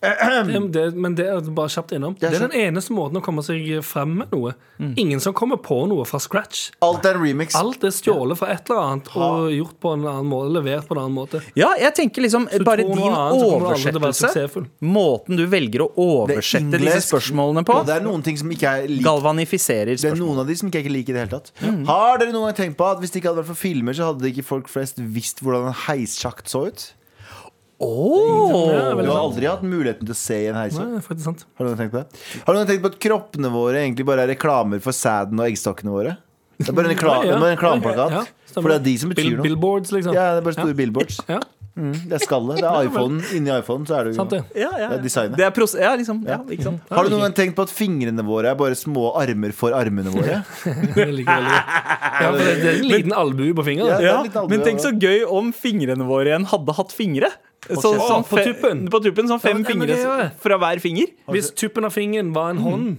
C: Men det, men det er bare kjapt innom. Det
B: er
C: er, den eneste måten å komme seg frem med noe.
B: Mm.
C: Ingen som kommer på noe fra scratch.
B: Alt er en remix.
C: Alt er stjålet fra et eller annet og gjort på en annen måte, levert på en annen måte.
D: Ja, jeg tenker liksom
C: du
D: bare
C: tror noe
D: din
C: annet, så kommer du aldri til å være
D: oversettelse.
C: suksessfull.
D: Måten du velger å
B: Det er
D: oversette disse
B: engelsk.
D: spørsmålene på,
B: Og det er noen ting som ikke er lik
D: galvanifiserer
B: det er
D: spørsmål.
B: noen av de som ikke jeg ikke liker i det hele tatt.
C: Mm.
B: Har dere noen gang tenkt på at hvis det ikke hadde vært for filmer, så hadde ikke folk flest visst hvordan en heissjakt så ut?
C: Ja,
B: Du har
C: veldig sant.
B: aldri hatt muligheten til å se i en heissjakt.
C: Nei, det er faktisk sant.
B: Har du noen tenkt på det? Har du noen tenkt på at kroppene våre egentlig bare er reklamer for sæden og eggstokkene våre? Det er bare en, rekla
C: Ja, ja.
B: det er bare en reklameplakat.
C: Ja, stemmer.
B: for det er de som betyr
C: Bill,
B: noe.
C: billboards, liksom.
B: Ja, det er bare store billboards.
C: Ja,
B: Det er skallet. Det er iPhonen. Inni iPhonen så er det jo
C: sant det.
D: Ja, ja,
B: Det er
D: ja.
B: designet.
D: Det er pros ja, liksom. Ja, ikke sant?
B: Har du noen gang tenkt på at fingrene våre er bare små armer for armene våre?
C: Jeg liker veldig godt. Ja, for det, det er en liten albue på
B: Ja,
D: Ja,
C: fingeren.
B: det er litt alvor,
D: men tenk så
B: ja.
D: gøy om fingrene våre igjen hadde hatt fingre. Så,
B: kjeften.
D: sånn
C: Å, på
D: fe-
C: tuppen.
D: På tuppen, sånn
C: Ja,
D: fem
C: men det er
D: fingre
C: jo det.
D: fra hver finger.
B: Mm.
C: Hvis tuppen av fingeren var en hånd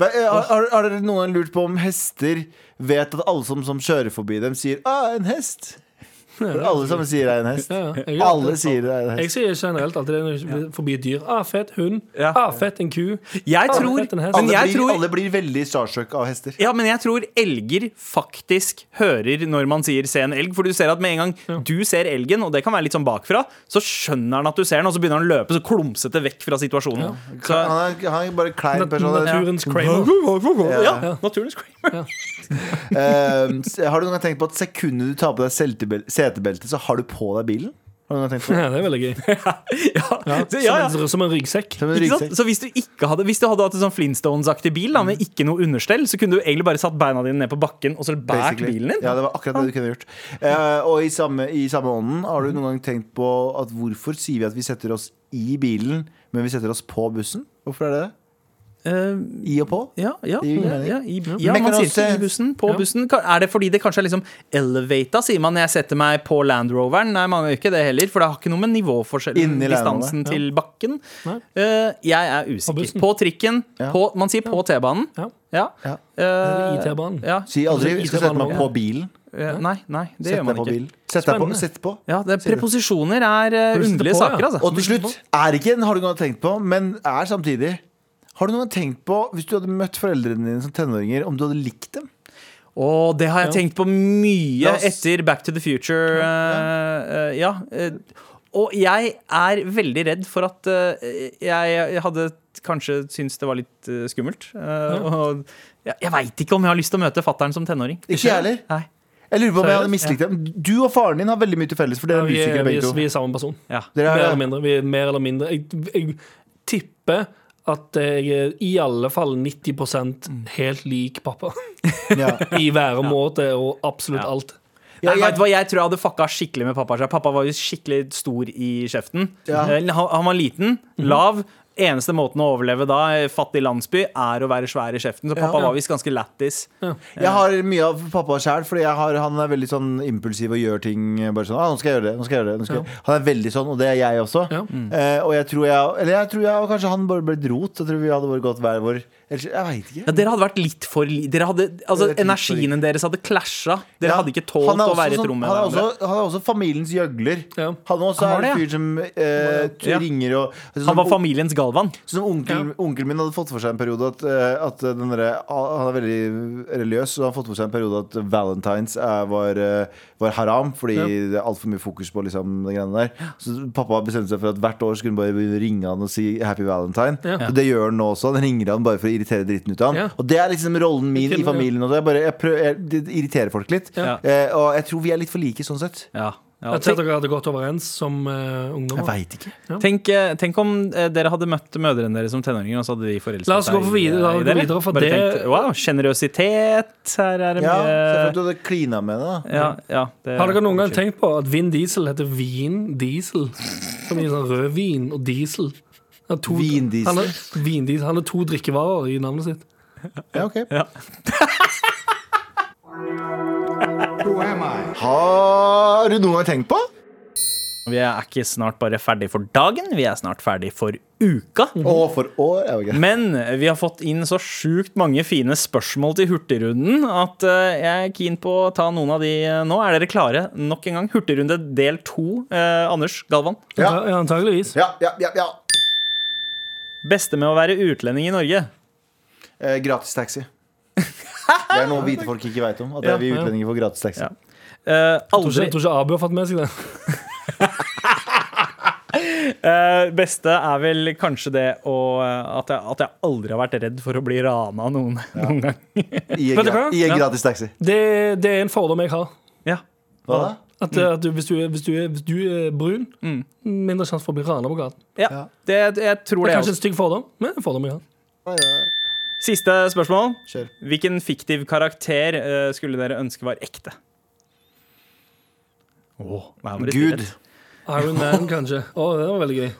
B: Hva- eh, Har, har, har dere noen gang lurt på om hester vet at alle som, som kjører forbi dem, sier 'Å, en hest'? For alle sammen sier 'det er en hest'.
C: Ja, ja. Jeg-
B: Alle sier 'det er en
C: Jeg
B: hest'.
C: sier generelt alltid det når jeg blir forbi et dyr. Ah, fett hund.
D: Ja.
C: Ah, fett en ku.
D: Jeg
C: Ah,
D: tror,
C: fett en hest.
D: men
B: Alle
D: jeg
B: blir,
D: tror
B: alle blir veldig starstruck av hester.
D: Ja, men jeg tror elger faktisk hører når man sier 'se en elg'. For du ser at med en gang du ser elgen, og det kan være litt sånn bakfra, så skjønner han at du ser den, og så begynner han å løpe så klumsete vekk fra situasjonen. Så,
B: Han er, han er bare klein
C: Nat-
B: person.
C: Naturens Kramer.
D: ja, naturens Kramer.
B: Eh, s- har du noen gang tenkt på at sekundet du tar på deg seltebel- setebeltet, så har du på deg bilen? Har du noen gang tenkt på det?
C: Ja, det er veldig gøy.
D: Ja, så-
C: Som,
D: ja, ja.
C: En, som en ryggsekk.
B: Som en
D: Ikke sant?
B: ryggsekk.
D: Så hvis du ikke hadde Hvis du hadde hatt en sånn Flintstones-aktig bil da, med ikke noe understell, så kunne du egentlig bare satt beina dine ned på bakken og så båret
B: Basically.
D: bilen din.
B: Ja, det var akkurat det du kunne gjort. Eh, og i samme, i samme ånden, har du noen gang tenkt på at hvorfor sier vi at vi setter oss i bilen, men vi setter oss på bussen? Hvorfor er det det?
D: Eh,
B: I og på?
D: Ja, ja,
B: Det gir
D: ja,
B: mening.
D: ja, i, ja
B: Men
D: man
B: kan
D: sier
B: også-
D: ikke i bussen, på bussen. Ka- Er det fordi det kanskje er liksom elevata, sier man når jeg setter meg på Land Roveren? Nei, man gjør ikke det heller, for det har ikke noe med nivåforskjellen,
B: Inni Land Rover,
D: distansen til bakken. Eh, jeg er usikker.
C: bussen.
D: På, trikken,
B: Ja.
D: på, man sier på T-banen.
C: Ja.
D: Ja.
B: Ja.
D: Eh,
C: Eller i T-banen.
D: Ja.
B: Si aldri
C: Ikke
B: 'skal sette meg
C: banen.
B: på bilen'.
D: Eh, nei, nei, det
B: Sett
D: gjør
B: deg
D: man
B: på
D: ikke.
B: bilen. Sett deg på.
C: Spennende.
B: Sett på.
D: Ja, det, preposisjoner er eh,
C: du sitter
D: underlige
C: på, ja.
D: saker, altså.
B: Og til slutt er ikke en har du noen gang tenkt på, men er samtidig. Har du noen gang tenkt på, hvis du hadde møtt foreldrene dine som tenåringer, om du hadde likt dem?
D: Og det har jeg tenkt på mye
B: La oss-
D: etter Back to the Future. eh, eh, ja. eh, og jeg er veldig redd for at eh, jeg hadde kanskje syntes det var litt eh, skummelt. Eh, og jeg, jeg veit ikke om jeg har lyst til å møte fattern som tenåring.
B: Ikke jeg heller.
D: Nei.
B: Jeg lurer på om jeg hadde
C: Seriøst?
B: mislikt dem. Du og faren din har veldig mye til felles, for dere
C: Ja,
B: er
C: vi, er,
B: musikere
C: vi,
B: begge
C: er, vi
B: to.
C: er samme person.
D: Ja.
B: Dere
C: Mer eller
B: er,
C: mindre. Vi er mer eller mindre. Jeg, jeg tipper at jeg er i alle fall 90
B: Mm.
C: helt lik pappa.
B: ja.
C: I væremåte og absolutt alt.
B: Ja,
D: Nei,
B: jeg-
D: vet du hva, jeg tror jeg hadde fucka skikkelig med pappa. Pappa var jo skikkelig stor i kjeften.
B: Ja. Mhm.
D: Eh, Han, han var liten, lav. Eneste måten å overleve da, i fattig landsby, er å være svær i kjeften. Så pappa var visst ganske lættis.
B: Jeg har mye av pappa sjæl, Fordi jeg har, han er veldig sånn impulsiv og gjør ting bare sånn. Ah, 'Nå skal jeg gjøre det.' nå skal jeg gjøre det nå skal jeg. Han er veldig sånn, og det er jeg også.
C: Ja.
D: Mm.
B: Eh, og jeg tror jeg Eller jeg tror jeg og kanskje han bare ble et rot. Jeg tror vi hadde bare gått hver vår. Ellers, jeg veit ikke.
D: Ja, dere hadde vært litt for li dere hadde, altså,
B: Det er litt for
D: Energien deres hadde klasja. Dere
B: Ja.
D: hadde ikke tålt
B: Han er
D: å
B: også
D: være i et
B: sånn-
D: rom med
B: han er,
D: hverandre.
B: også, han er også familiens gjøgler.
C: Ja.
B: Han også
D: Han
B: er
D: var
B: en
D: det, ja.
B: fyr som eh, t-
D: Ja.
B: ringer og altså,
D: Han
B: som
D: var familiens Galvan.
B: Som onkel, onkelen min hadde fått for seg en periode at, eh, at den derre- Han er veldig religiøs, og han hadde fått for seg en periode at valentines eh, var, eh, var haram, fordi det er altfor mye fokus på liksom, de greiene der. Så pappa bestemte seg for at hvert år skulle han bare ringe han og si 'happy valentine'. Og det gjør han nå også. Han ringer han bare for å irritere dritten ut av han.
C: Ja.
B: Og det er liksom rollen min i
C: Til-
B: familien. Også. Jeg bare, jeg prøver, jeg, det irriterer folk litt.
D: Ja.
B: Eh, og jeg tror vi er litt for like sånn sett.
D: Ja. Ja.
C: Jeg tror
D: Tenk,
C: dere hadde gått overens som eh,
B: Jeg
C: ungdommer.
B: veit ikke.
D: tenk, eh, tenk om eh, dere hadde møtt mødrene deres som tenåringer, og så hadde de forelsket
C: La oss gå for videre, la oss gå
D: dere.
C: videre, for
D: Bare
C: det-
D: tenkt, wow, sjenerøsitet. Her er det
B: Ja,
D: mye
B: Se for at du hadde klina med det. da.
D: ja, ja, det,
C: Har dere noen gang tenkt på at Vin Diesel heter Vin Diesel? Som i sånn rødvin og diesel. Han har to-
B: Vindiesel.
C: Han har, vindiesel. Han har to drikkevarer i navnet sitt.
B: Ja, ok
D: Ja.
H: Who am I?
B: Har du noen gang tenkt på?
D: Vi er ikke snart bare ferdig for dagen, vi er snart ferdig for uka.
B: Å, for år er jo greit.
D: Men vi har fått inn så sjukt mange fine spørsmål til Hurtigrunden at eh, jeg er keen på å ta noen av de eh, nå. Er dere klare nok en gang? Hurtigrunde del to. Eh, Anders Galvan.
B: Ja.
C: Anta- Antageligvis.
B: Ja, ja, ja, ja.
D: Beste med å være utlending i Norge?
B: Eh, gratis taxi. Det er noe hvite folk ikke veit om. At det er vi utlendinger får gratis taxi.
D: Ja. Eh,
C: Jeg tror ikke,
D: aldri.
C: jeg tror ikke Abu har fått med seg det.
D: Eh, beste er vel kanskje det å, eh, at, jeg, at jeg aldri har vært redd for å bli rana noen, noen gang.
B: I, en
C: Vet du
B: gra
C: hva?
B: I en
D: Ja.
B: gratis taxi.
C: det. Det er en fordom jeg har.
D: Ja.
B: Hva da?
C: At, eh, at du, hvis, du, er- hvis, du er, hvis du er brun, mindre sjanse for å bli rana på gaten.
D: ja. Det, jeg tror
C: Det
D: det. altså?
C: er
D: er
C: kanskje en stygg fordom, men en fordom jeg har.
D: også. Siste spørsmål.
B: Kjør.
D: Hvilken fiktiv karakter eh, skulle dere ønske var ekte? Åh, hva er det?
B: Gud.
C: Iron Man, kanskje. Å, det var veldig gøy.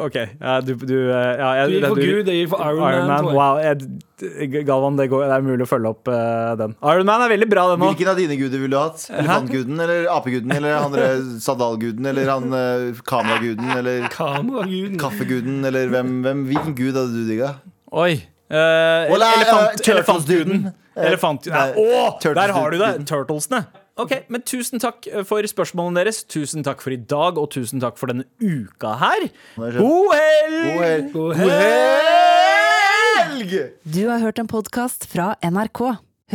D: Ok, ja, du, du, eh, ja, jeg,
C: Du gikk for
D: du-
C: Gud, jeg gikk for Iron,
D: Iron Man,
C: tror jeg.
D: wow jeg, Galvan, det, går, det er mulig å følge opp eh, den Iron Man er veldig bra den nå
B: Hvilken av dine guder ville du hatt? Elefantguden eller apeguden eller han der sandalguden eller han eh, kameraguden eller
C: Kameraguden.
B: kaffeguden eller hvem, hvem? Hvilken gud hadde du digga?
D: Oi, Eh,
B: Well, I-
D: elefant,
B: uh,
D: elefantduden.
B: Eh,
D: Elefant,
B: nei,
D: nei, å, der har du
B: turtlesduden.
D: det! Turtlesene. Ok, men Tusen takk eh, for spørsmålene deres. Tusen takk for i dag, og tusen takk for denne uka her.
B: er det.
D: God helg!
B: God helg.
C: God
D: helg!
B: Helg!
I: Du har hørt en podkast fra NRK.